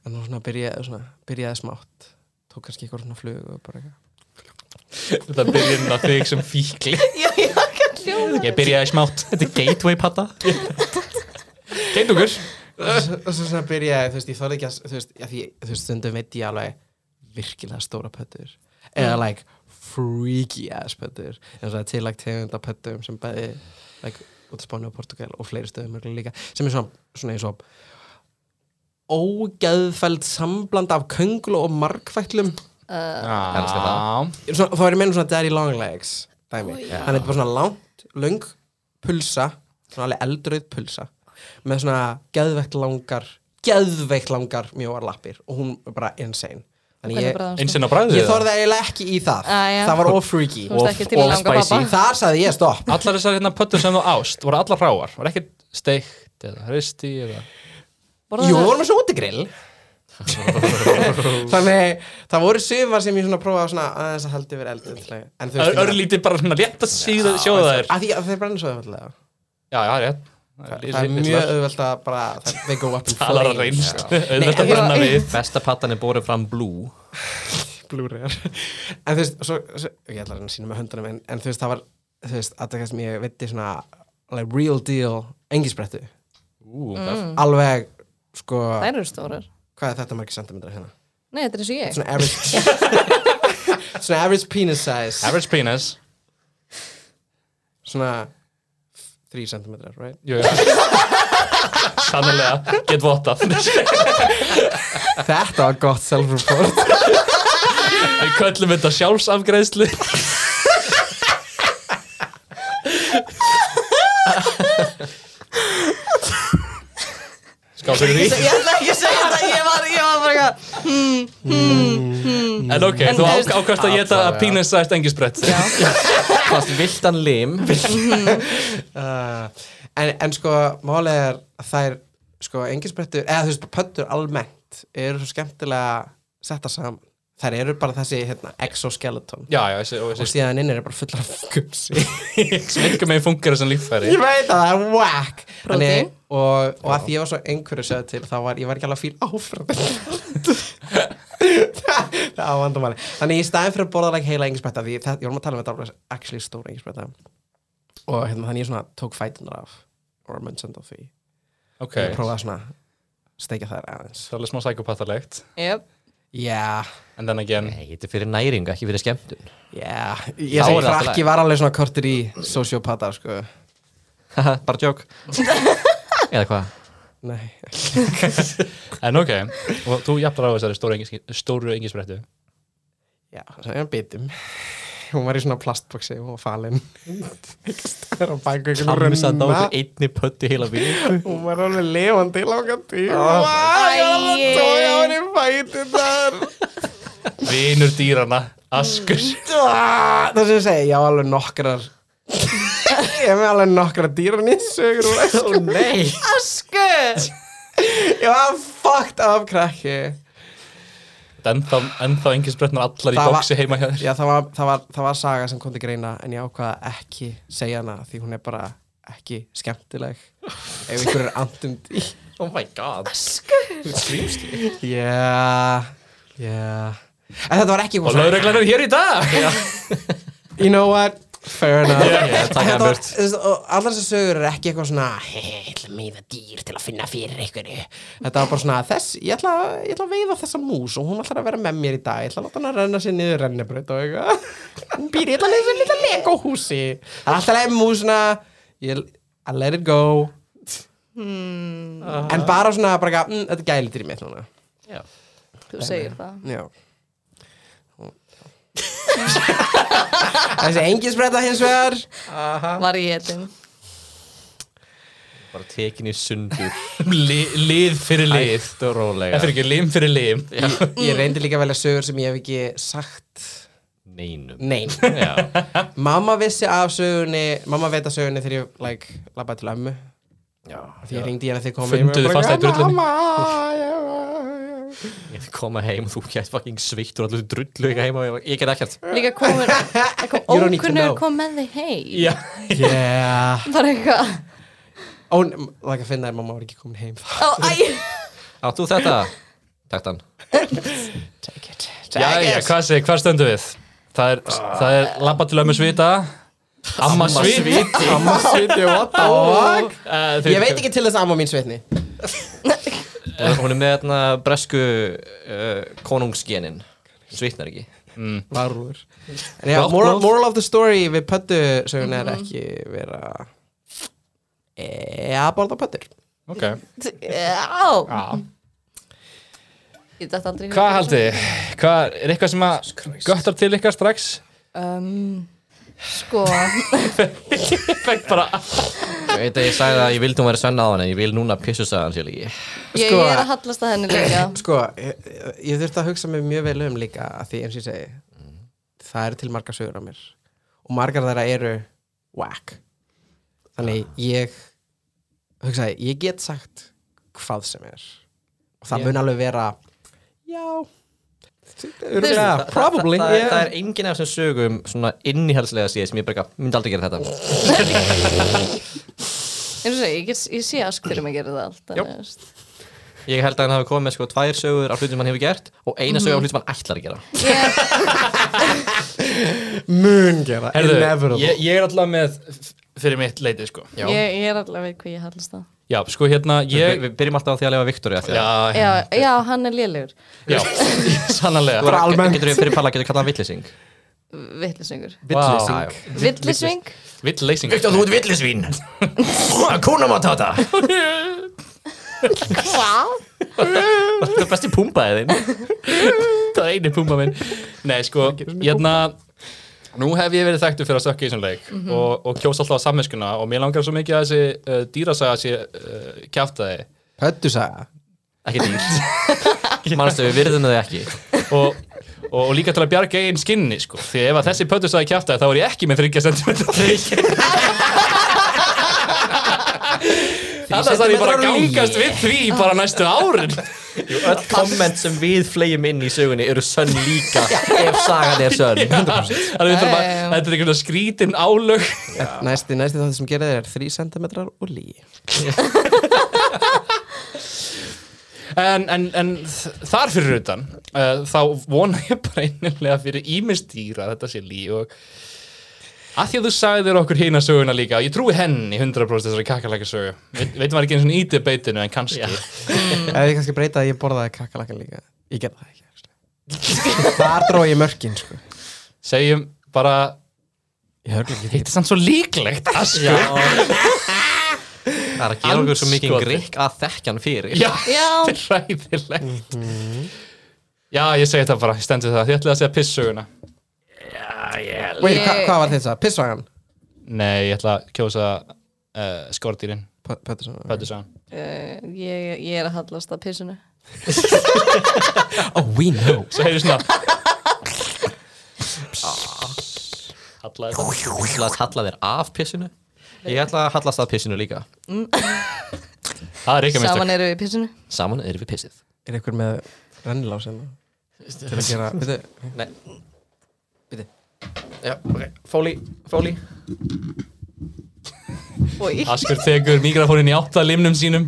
S5: en hún svona byrjaði, svona, byrjaði smátt tók kannski eitthvað svona flug og bara eitthvað
S3: þetta byrjun að þig sem fíkli
S1: Já, já hljóð
S2: Ég byrjaði smátt Þetta er gateway patta
S3: Geindugur
S5: og svo- og svo svona byrjaði, þú veist, ég þorði ekki að þú veist, já, því, þú veist, stundum veit ég alveg virkilega stóra pöttur eða like freaky ass pöttur eins og það er tillagt tegunda pöttum sem bæði like, út af Spáni og Portugal og fleiri stöðum örugglega líka, sem er svona, svona eins og ógeðfæld sambland af könglu og margfætlum
S2: elska það.
S5: svona, þá er ég meina svona daddy long legs dæmi, þannig þetta er bara svona langt löng pulsa, svona alveg eldröð pulsa, með svona geðveikt langar, geðveikt langar mjóar lappir og hún er bara insane þannig ég,
S3: Einsinn á bræðið
S5: ég þorði eiginlega ekki í það
S1: Ah, já.
S5: það var of freaky
S1: Þú veist ekki til
S2: Of-
S1: að langa
S2: of spicy.
S1: pappa
S5: þar sagði ég stopp
S3: Allar þessar hérna pöttur sem þú ást voru allar hráar Var ekkert steikt eða hristi eða
S1: Borðaðu
S5: Jú,
S1: það?
S5: vorum við svo útigrill Þannig, það voru sumar sem ég svona prófaði svona aðeins að haldi yfir eldi En þú
S3: Ör-
S5: veist,
S3: Örlítið bara svona létt að síða sjóða þær
S5: að því að þeir brenna svo öfallega
S3: Já, já, rétt
S5: Það er mjög auðvelt að bara, það, they go up in
S3: Talar að
S5: flames. sko.
S3: reynst Auðvitað
S1: Nei,
S3: að brenna
S1: já.
S3: við
S2: Besta pattan er borðið fram blue
S5: blúriðar en þú veist, svo, svo, ég ætla að reyna að sína með höndunum en, en þú veist, það var, þú veist, að það sem ég veitti svona, like real deal engisbrettu,
S3: Ú, mm.
S5: alveg sko,
S1: Þær eru stórar
S5: hvað er þetta margir sentimentar hérna?
S1: Nei, þetta er eins og ég
S5: Svona average svona average penis size
S3: Average penis
S5: svona 3 sentimentar, right?
S3: Jú, jú Sannlega, get vottað Við
S5: þetta var gott self-report
S3: köllum þetta sjálfsafgreðslu Skál fyrir því
S1: Ég ætla ekki að segja þetta Ég var, ég var bara eitthvað
S3: En ok, þú
S1: þú veist-
S3: ákvæmst að geta penis-sized engisbrett
S1: Já,
S2: Fast viltan lim
S5: uh, en, en sko málið er að þær sko engisbrettur, eða þú veist pöttur almennt eru svo skemmtilega setta saman, þær eru bara þessi hérna, exoskeleton
S3: Já, já, þessi- og
S5: og
S3: þessi
S5: síðan innir er bara fullar af gumsi
S3: sem einhver meginn funkar sem líffæri
S5: ég veit að það er whack
S1: Prótein.
S5: Þannig- og, og að því ég var svo einhverju séð til þá var ég var ekki alveg fíl áfram það var vandamáli þannig í staðin fyrir að borða like, heila engisbretta því það, ég vorum að tala um þetta alveg actually stóra engisbretta og hérna, þannig ég svona tók fætunar af og munnsend á því
S3: Ok,
S5: okay.
S3: það
S5: prófaði svona steikja þær aðeins
S3: er alveg smá sækopattalegt
S1: jöp
S5: já,
S3: En then again,
S2: Nei, þetta er fyrir næring, ekki fyrir skemmtun
S5: já
S2: Þá
S5: ég segi
S2: er það allt í
S5: krakki var alveg svona kortir í sociopata sko
S2: Haha, Bara joke Eða hvað?
S5: nei,
S3: en ok Og þú jafnar á þessari stóru, engis, stóru engisbrettu
S5: já, það er bitum hún var í svona plastboksi og falin það er á baku ykkur
S2: Hamsað á
S5: runna
S2: ykkur einni pötti heila við
S5: hún var alveg levandi í langan tíma oh.
S1: Æi.
S5: ég var að tója hún í fæti þar
S3: Vinur dýrana, askur
S5: Ah, það sem ég segi, ég á alveg nokkrar ég hef alveg nokkrar dýran í sögur og sko
S2: Nei
S1: Asku
S5: Ég var fucked up krakki
S3: Ennþá, ennþá engisbrettnar allar í
S5: Það var-
S3: bóksi heima hjá þér
S5: Já, það var, það, var, það var saga sem kom til greina en ég ákvaða ekki segja hana því hún er bara ekki skemmtileg ef ykkur er andund í
S2: Oh my god
S5: Já, já En þetta var ekki
S3: Og lauruglan er hér í dag
S5: You know what? Fair enough
S2: Já, já, takk
S5: Þetta var-
S2: Albert.
S5: þú veist, og Allar þessar sögur er ekki eitthvað svona "Hey, Ég ætla að meiða dýr til að finna fyrir ykkur Þetta var bara svona þess, ég, ætla, að- ég ætla að veiða þessa mús og hún ætlar að vera með mér í dag Ég ætla að láta hann að renna sér niður rennibraut og eitthvað Hún býr í eitthvað þessu lilla lego húsi Það er alltaf leið með músina Ég I let it go
S1: Hmm,
S5: En bara svona, bara, eitthvað, mm, þetta er gælið mitt núna
S1: Þú segir það
S5: Já Þessi engisbretta hins vegar
S1: Var ég etin
S2: Bara tekin í sundur
S3: Li, Lið fyrir lið
S2: Hægt og rólega
S3: En fyrir ekki, lim fyrir lim
S5: Ég reyndi líka að velja sögur sem ég hef ekki sagt
S2: Neinum
S5: Nein
S2: Já
S5: Mamma vissi af sögunni Mamma veit af sögunni þegar ég like, labbaði til ömmu
S2: Já
S5: Því ég ringdi hérna þegar ég kom
S3: Funduðu fasta í drullunni?
S5: drullunni
S2: Ég ætti að koma heim og þú gætt fucking sveitt og allir drullu ekki heima og ég- ég get ekkert
S1: Líka komur Það kom
S5: You don't need to
S1: ókunnur
S5: know.
S1: kom með þig heim
S3: Já,
S5: Yeah
S1: Bara eitthvað
S5: Ó, n- like að finna að mamma var ekki komin heim þá.
S1: Ó, æ
S2: Áttu þetta? Takk þann
S5: Take it
S3: já, já, hvað, seg, hvað stendur við? Það er, það er labba til ömmu svita Ah. Amma sviti
S5: Amma sviti, what the fuck
S3: uh,
S5: Ég veit ekki til þess að amma mín svitni
S2: Og Hún er með þarna bresku uh, konungsgenin Svitnar ekki
S5: Varur En já,
S2: Gott
S5: moral,
S2: boð.
S5: moral of the story við pöttu söguna er ekki vera e að borða pöttur
S3: Ok
S1: Já,
S3: ah.
S1: ég dætt aldrei í hug.
S3: Hvað haldið? þið? Hvað er eitthvað sem að göttar til ykkar strax?
S1: Um, sko,
S3: Fætt bara
S2: Ég veit að ég sagði að ég vildi hún væri svenna á hann En ég vil núna pissu sagði hann sér ekki
S1: ég,
S5: Sko.
S1: ég er að hallast að henni líka.
S5: Sko, ég, ég- ég þurfti að hugsa mig mjög vel um líka að því eins og ég segi það eru til margar sögur á mér og margar þeirra eru whack
S2: Ah.
S5: Þannig ég hugsaði, ég get sagt hvað sem er og það mun alveg vera já Örgulega, probably
S2: það, það,
S5: yeah.
S2: það er enginn af þessum sögum Svona innihalslega séð sem ég bara eitthvað, myndi aldrei gera þetta
S1: Ég, sé, ég, get- ég sé ask fyrir mig að gera það allt. þannig, þú veist.
S2: Ég held að hann hafi komið með sko tvær sögur Af hlutum sem hann hefur gert Og eina sögur af hlutum sem hann ætlar að gera
S1: Ég,
S5: mun gera
S3: Herðu,
S5: inevitable.
S3: ég, ég er alltaf með f- fyrir mitt leiti sko
S2: Já.
S1: ég, ég er allavega veit hvað ég hallast að.
S3: Já, sko hérna
S2: Við-
S3: ég
S2: Við byrjum alltaf á því að lefa Viktori að því að
S3: Já,
S1: Já, já, hann er lélugur.
S3: já, sannarlega
S5: Bara almennt.
S2: Getur við fyrir palla, getur við kallað hann villising
S1: Vittlisengur.
S3: Vá.
S2: Villising.
S1: Vittlisving?
S3: Vill leysing
S2: þú ert villisvín Kuna matata
S1: Hvað?
S2: Það er besti pumpaðið þinn
S3: Það er eini pumba minn Nei, sko, hérna Nú hef ég verið þekktur fyrir að sökka í þessum leik
S1: Mhm.
S3: og, og kjósa alltaf á samvinskuna og mér langar svo mikið að þessi uh, dýrasaga sé uh, kjaftaði
S5: Pöttu saga
S2: Ekki dýrt Manstu, við virðum þau ekki
S3: og, og, og líka til að bjarga einn skinni sko. því ef að þessi pöttu sagði kjaftaði þá er ég ekki með 30 cm leik Þannig að ég bara að gangast við því bara næstu árin
S2: Jú, öll komment sem við flegjum inn í sögunni eru sönn líka ef sagan er sönn
S3: Þannig að við þurfum að
S1: Já, já, já.
S3: þetta er einhvern veginn skrítin álög
S5: Næsti, næsti þáttur sem gera þér er 3 cm og lí
S3: En, en, en þ- þar fyrir utan uh, þá vona ég bara einnilega fyrir ímistýra að þetta sé lí og að því að þú sagðir okkur hina söguna líka og ég trúi henni 100% þessari kakalækja sögu Veit, veitum maður ekki eins og í debatinu en kannski
S5: Ef ég kannski breyta að ég borðaði kakalakka líka Ég gerði það ekki actually. Þar dróði ég mörkin sko.
S3: segjum bara
S5: Ég hörgla ekki
S3: þetta er sann svo líklegt að sko
S2: Það er að gera okkur svo mikið
S3: Andskoti.
S2: grikk að þekkja hann fyrir
S3: Já,
S1: Já.
S3: þetta er ræðilegt Já, ég segi þetta bara, ég stendur það Ég ætlaði að segja pissöguna
S5: Wait, hva, Hvað var þetta? Pissvagan?
S3: Nei, ég ætla að kjósa uh, skordýrin,
S5: Pöttu saga
S3: pöttu sagan
S1: Uh, ég, ég er að hallast að pissinu.
S5: Oh, we know
S3: Svo heyrðu svona Hallaði það
S2: Þú ætla að halla þér af pissinu Ég ætla að hallast að pissinu líka
S3: Það er ekki minnst
S1: Saman eru við í pissinu.
S2: Saman erum við pissið
S5: Er ykkur með rennilás hérna? Til að gera Veitu,
S2: Nei,
S5: veitu
S2: já, ok, fóli, fóli
S1: Oj.
S3: Askur tekur mikrofónin í átta limnum sínum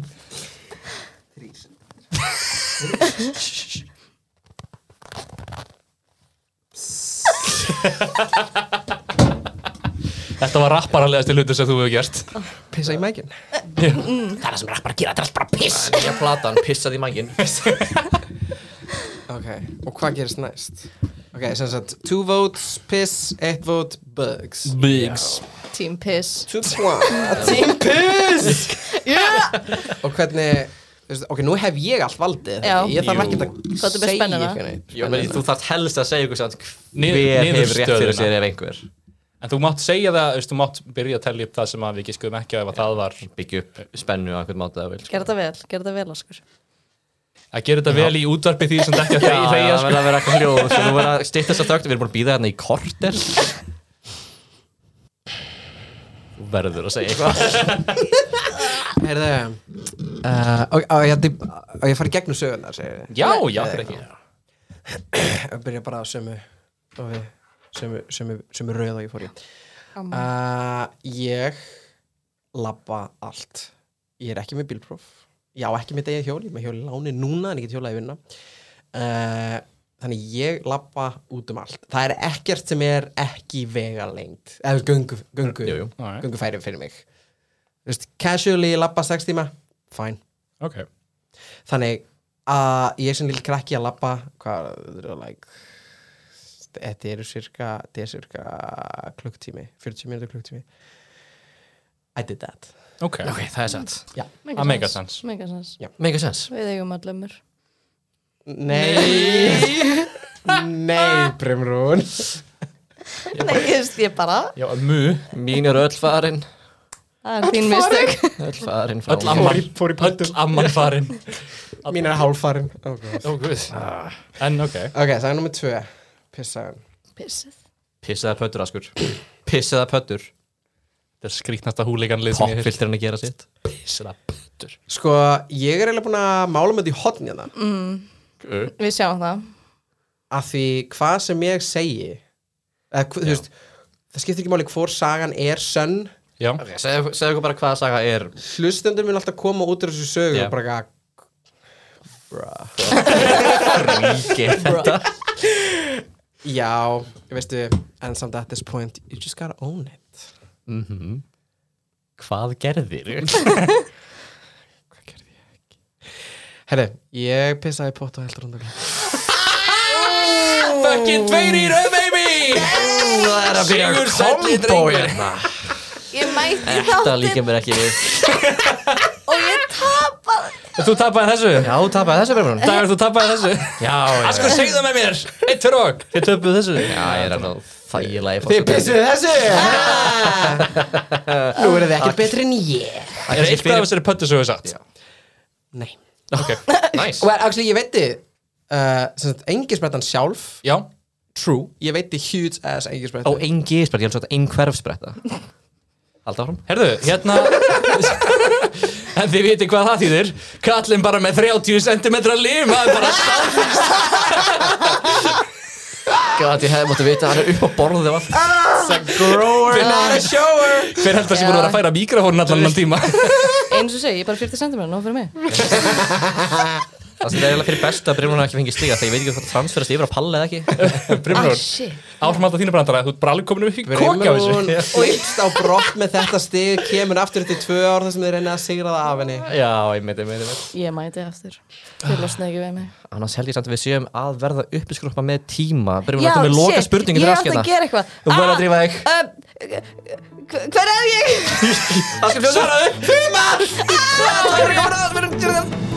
S3: Þetta var rapparalegasti hlutur sem þú hefur gert
S5: Pissa í mækin
S4: Það er það sem rappar gera, það er bara piss
S2: Nýja platan, pissað í mangin
S5: Ok, og hvað gerist næst? Ok, sem sagt Two votes, piss, eitt vote, bugs
S3: Biggs
S1: Team piss.
S5: Two to one A team piss
S1: Yeah.
S5: Og hvernig þú veist, Ok, nú hef ég allt valdið
S1: Já.
S5: Ég þarf
S2: Jú.
S5: ekki
S1: Hvað
S5: að
S1: er með
S5: segja
S1: spennuna?
S5: ykkur neitt.
S2: Jó, meni, þú þarft helst að segja ykkur samt
S3: Ni-
S2: Hver hefur rétt fyrir
S3: niðurstöðuna.
S2: sér ef einhver
S3: En þú mátt segja það, veist, þú mátt byrja að tellja upp það sem að við giskuðum ekki á ef að það var
S2: Byggja upp spennu á einhvern mátu að vil
S1: Gerð það vel, gerð það vel, Askur.
S3: að gera þetta vel í útvarpi því sem þetta ekki að
S2: Já,
S3: þegja- sko. þegja
S2: það verður að vera eitthvað hljóð Svo nú verður að stýtta þess að þögt Við erum búin að býða hérna í korter Þú verður að segja eitthvað
S5: Heyrðu uh, Og og ég ætti- og ég fari gegnum sögurnar segir ég.
S3: Já, já, fyrir ekki
S5: Ég byrja bara á sömu og við sömu, sömu, sömu rauð og ég fór í uh, Ég labba allt Ég er ekki með bílpróf Ég á ekki með degja hjóli Ég er með hjóli láni núna en ég get hjólaði vinna uh, þannig ég lappa út um allt það er ekkert sem er ekki vegalengt eða göngu, göngu,
S2: Jú, jú.
S3: Já, já.
S5: göngufæri fyrir mig Þú veist, casually lappa 6 tíma fine
S3: ok,
S5: þannig að ég sem lill krakki að lappa hvað, þetta eru like þetta eru cirka, þetta er cirka klukktími, 40 minútur klukktími I did that
S3: ok
S2: ok, það er satt
S5: já,
S3: Að make a sense.
S1: Mega sens.
S2: make a sense
S1: Við eigum allumur.
S5: nei nei, Brimrún
S1: Nei, ég veist, ég bara,
S3: já, mu,
S2: mín er öll farin
S1: það er þín mistök.
S2: öll farin frá
S3: öll amman öll amman farin
S5: mín er hálfarinn ok,
S3: Ó, guð. en ok,
S5: það er nummer 2 pissaðan
S1: Pissið.
S2: pissaða pöttur askur pissaða pöttur
S3: þetta er skrítnasta húlíkanlið sem ég
S2: popfilterinn að gera sitt
S3: pissra pöttur
S5: sko, ég er eiginlega búin að mála með því hotn hérna
S1: Við sjáum það.
S5: að því hvað sem ég segi eða, hv- þú veist það skiptir ekki máli hvort sagan er sönn
S3: já,
S2: ok, segðu segðu okkur bara hvaða saga er
S5: hlustendur minn alltaf koma út úr þessu sögu
S2: Já.
S5: og bara eitthvað,
S2: ríki þetta
S5: já, veistu en samt at this point, you just gotta own it
S2: Mhm. hvað gerðir
S5: hvað gerði ég ekki herri, ég pissaði í pott og heldur undan
S2: fucking tveir í rauð baby það er að byrja
S5: Sigur sæll í
S2: kombo hérna
S1: Ég mætti
S2: þetta
S1: þáttinn
S2: líka mér ekki við
S1: og ég tapaði.
S3: þú tapaði þessu
S2: já, tapaði þessu bremur já,
S3: dagur, þú tapaði þessu
S2: já,
S3: Askur, segðu það með mér, eitt fyrir og Þið töpuð þessu
S2: já, ég er alveg þægilega í
S5: þið
S2: fótbolta.
S5: pissuðu þessu nú eru þið ekkert betri en ég
S3: Er eitthvað af þessari pöttu svo við satt?
S5: nei,
S3: Ok,
S2: Nice.
S5: well, actually, ég veit þið uh, engisbrettan sjálf
S3: já
S5: true, ég veit þið huge ass engisbrettan
S2: Ó, ein gisbrett, ég held svo að ein hverfsbretta Halda áfram
S3: Herðu, hérna En þið viti hvað það þýðir Kallinn bara með 30 cm lim Það er bara stað
S2: Gat, ég hefði mótt að vita, hann er upp á borðið og allt
S5: grower, not a shower
S3: Hver heldur þessi búin að vera að færa mikrofónin allan annan tíma
S1: Eins og segi, ég er bara 40 cm, nóg fyrir mig.
S2: Það sem er eiginlega fyrir bestu að Brynjónu ekki fengið stiga Þegar ég veit ekki hvort það transferast yfir á palla eða ekki
S1: Ah,
S3: Brimrún,
S1: shit.
S3: áfram alltaf þínu brandara Þú ert bara alveg komin upp í koka á
S5: Brimrún
S3: þessu
S5: fyrst á brott með þetta stig kemur aftur eftir tvö ár þar sem þið reynið að sigra það af henni
S2: Já, ég meiti, ég meiti, ég meiti
S1: Ég mæti aftur. Þið losnaði ekki við mig.
S2: Annars held ég samt að við séum að verða uppiskruppa með tíma Brynjónu ættum við loka spurningin
S1: ég
S2: fyrir
S1: átti
S2: askjana
S1: að gera Ah! eitthvað.
S2: Þú verður að drífa þig
S1: þig. Hver er ég?
S2: Askjana fljóður
S5: Fimar! Takk fyrir að koma að það, við erum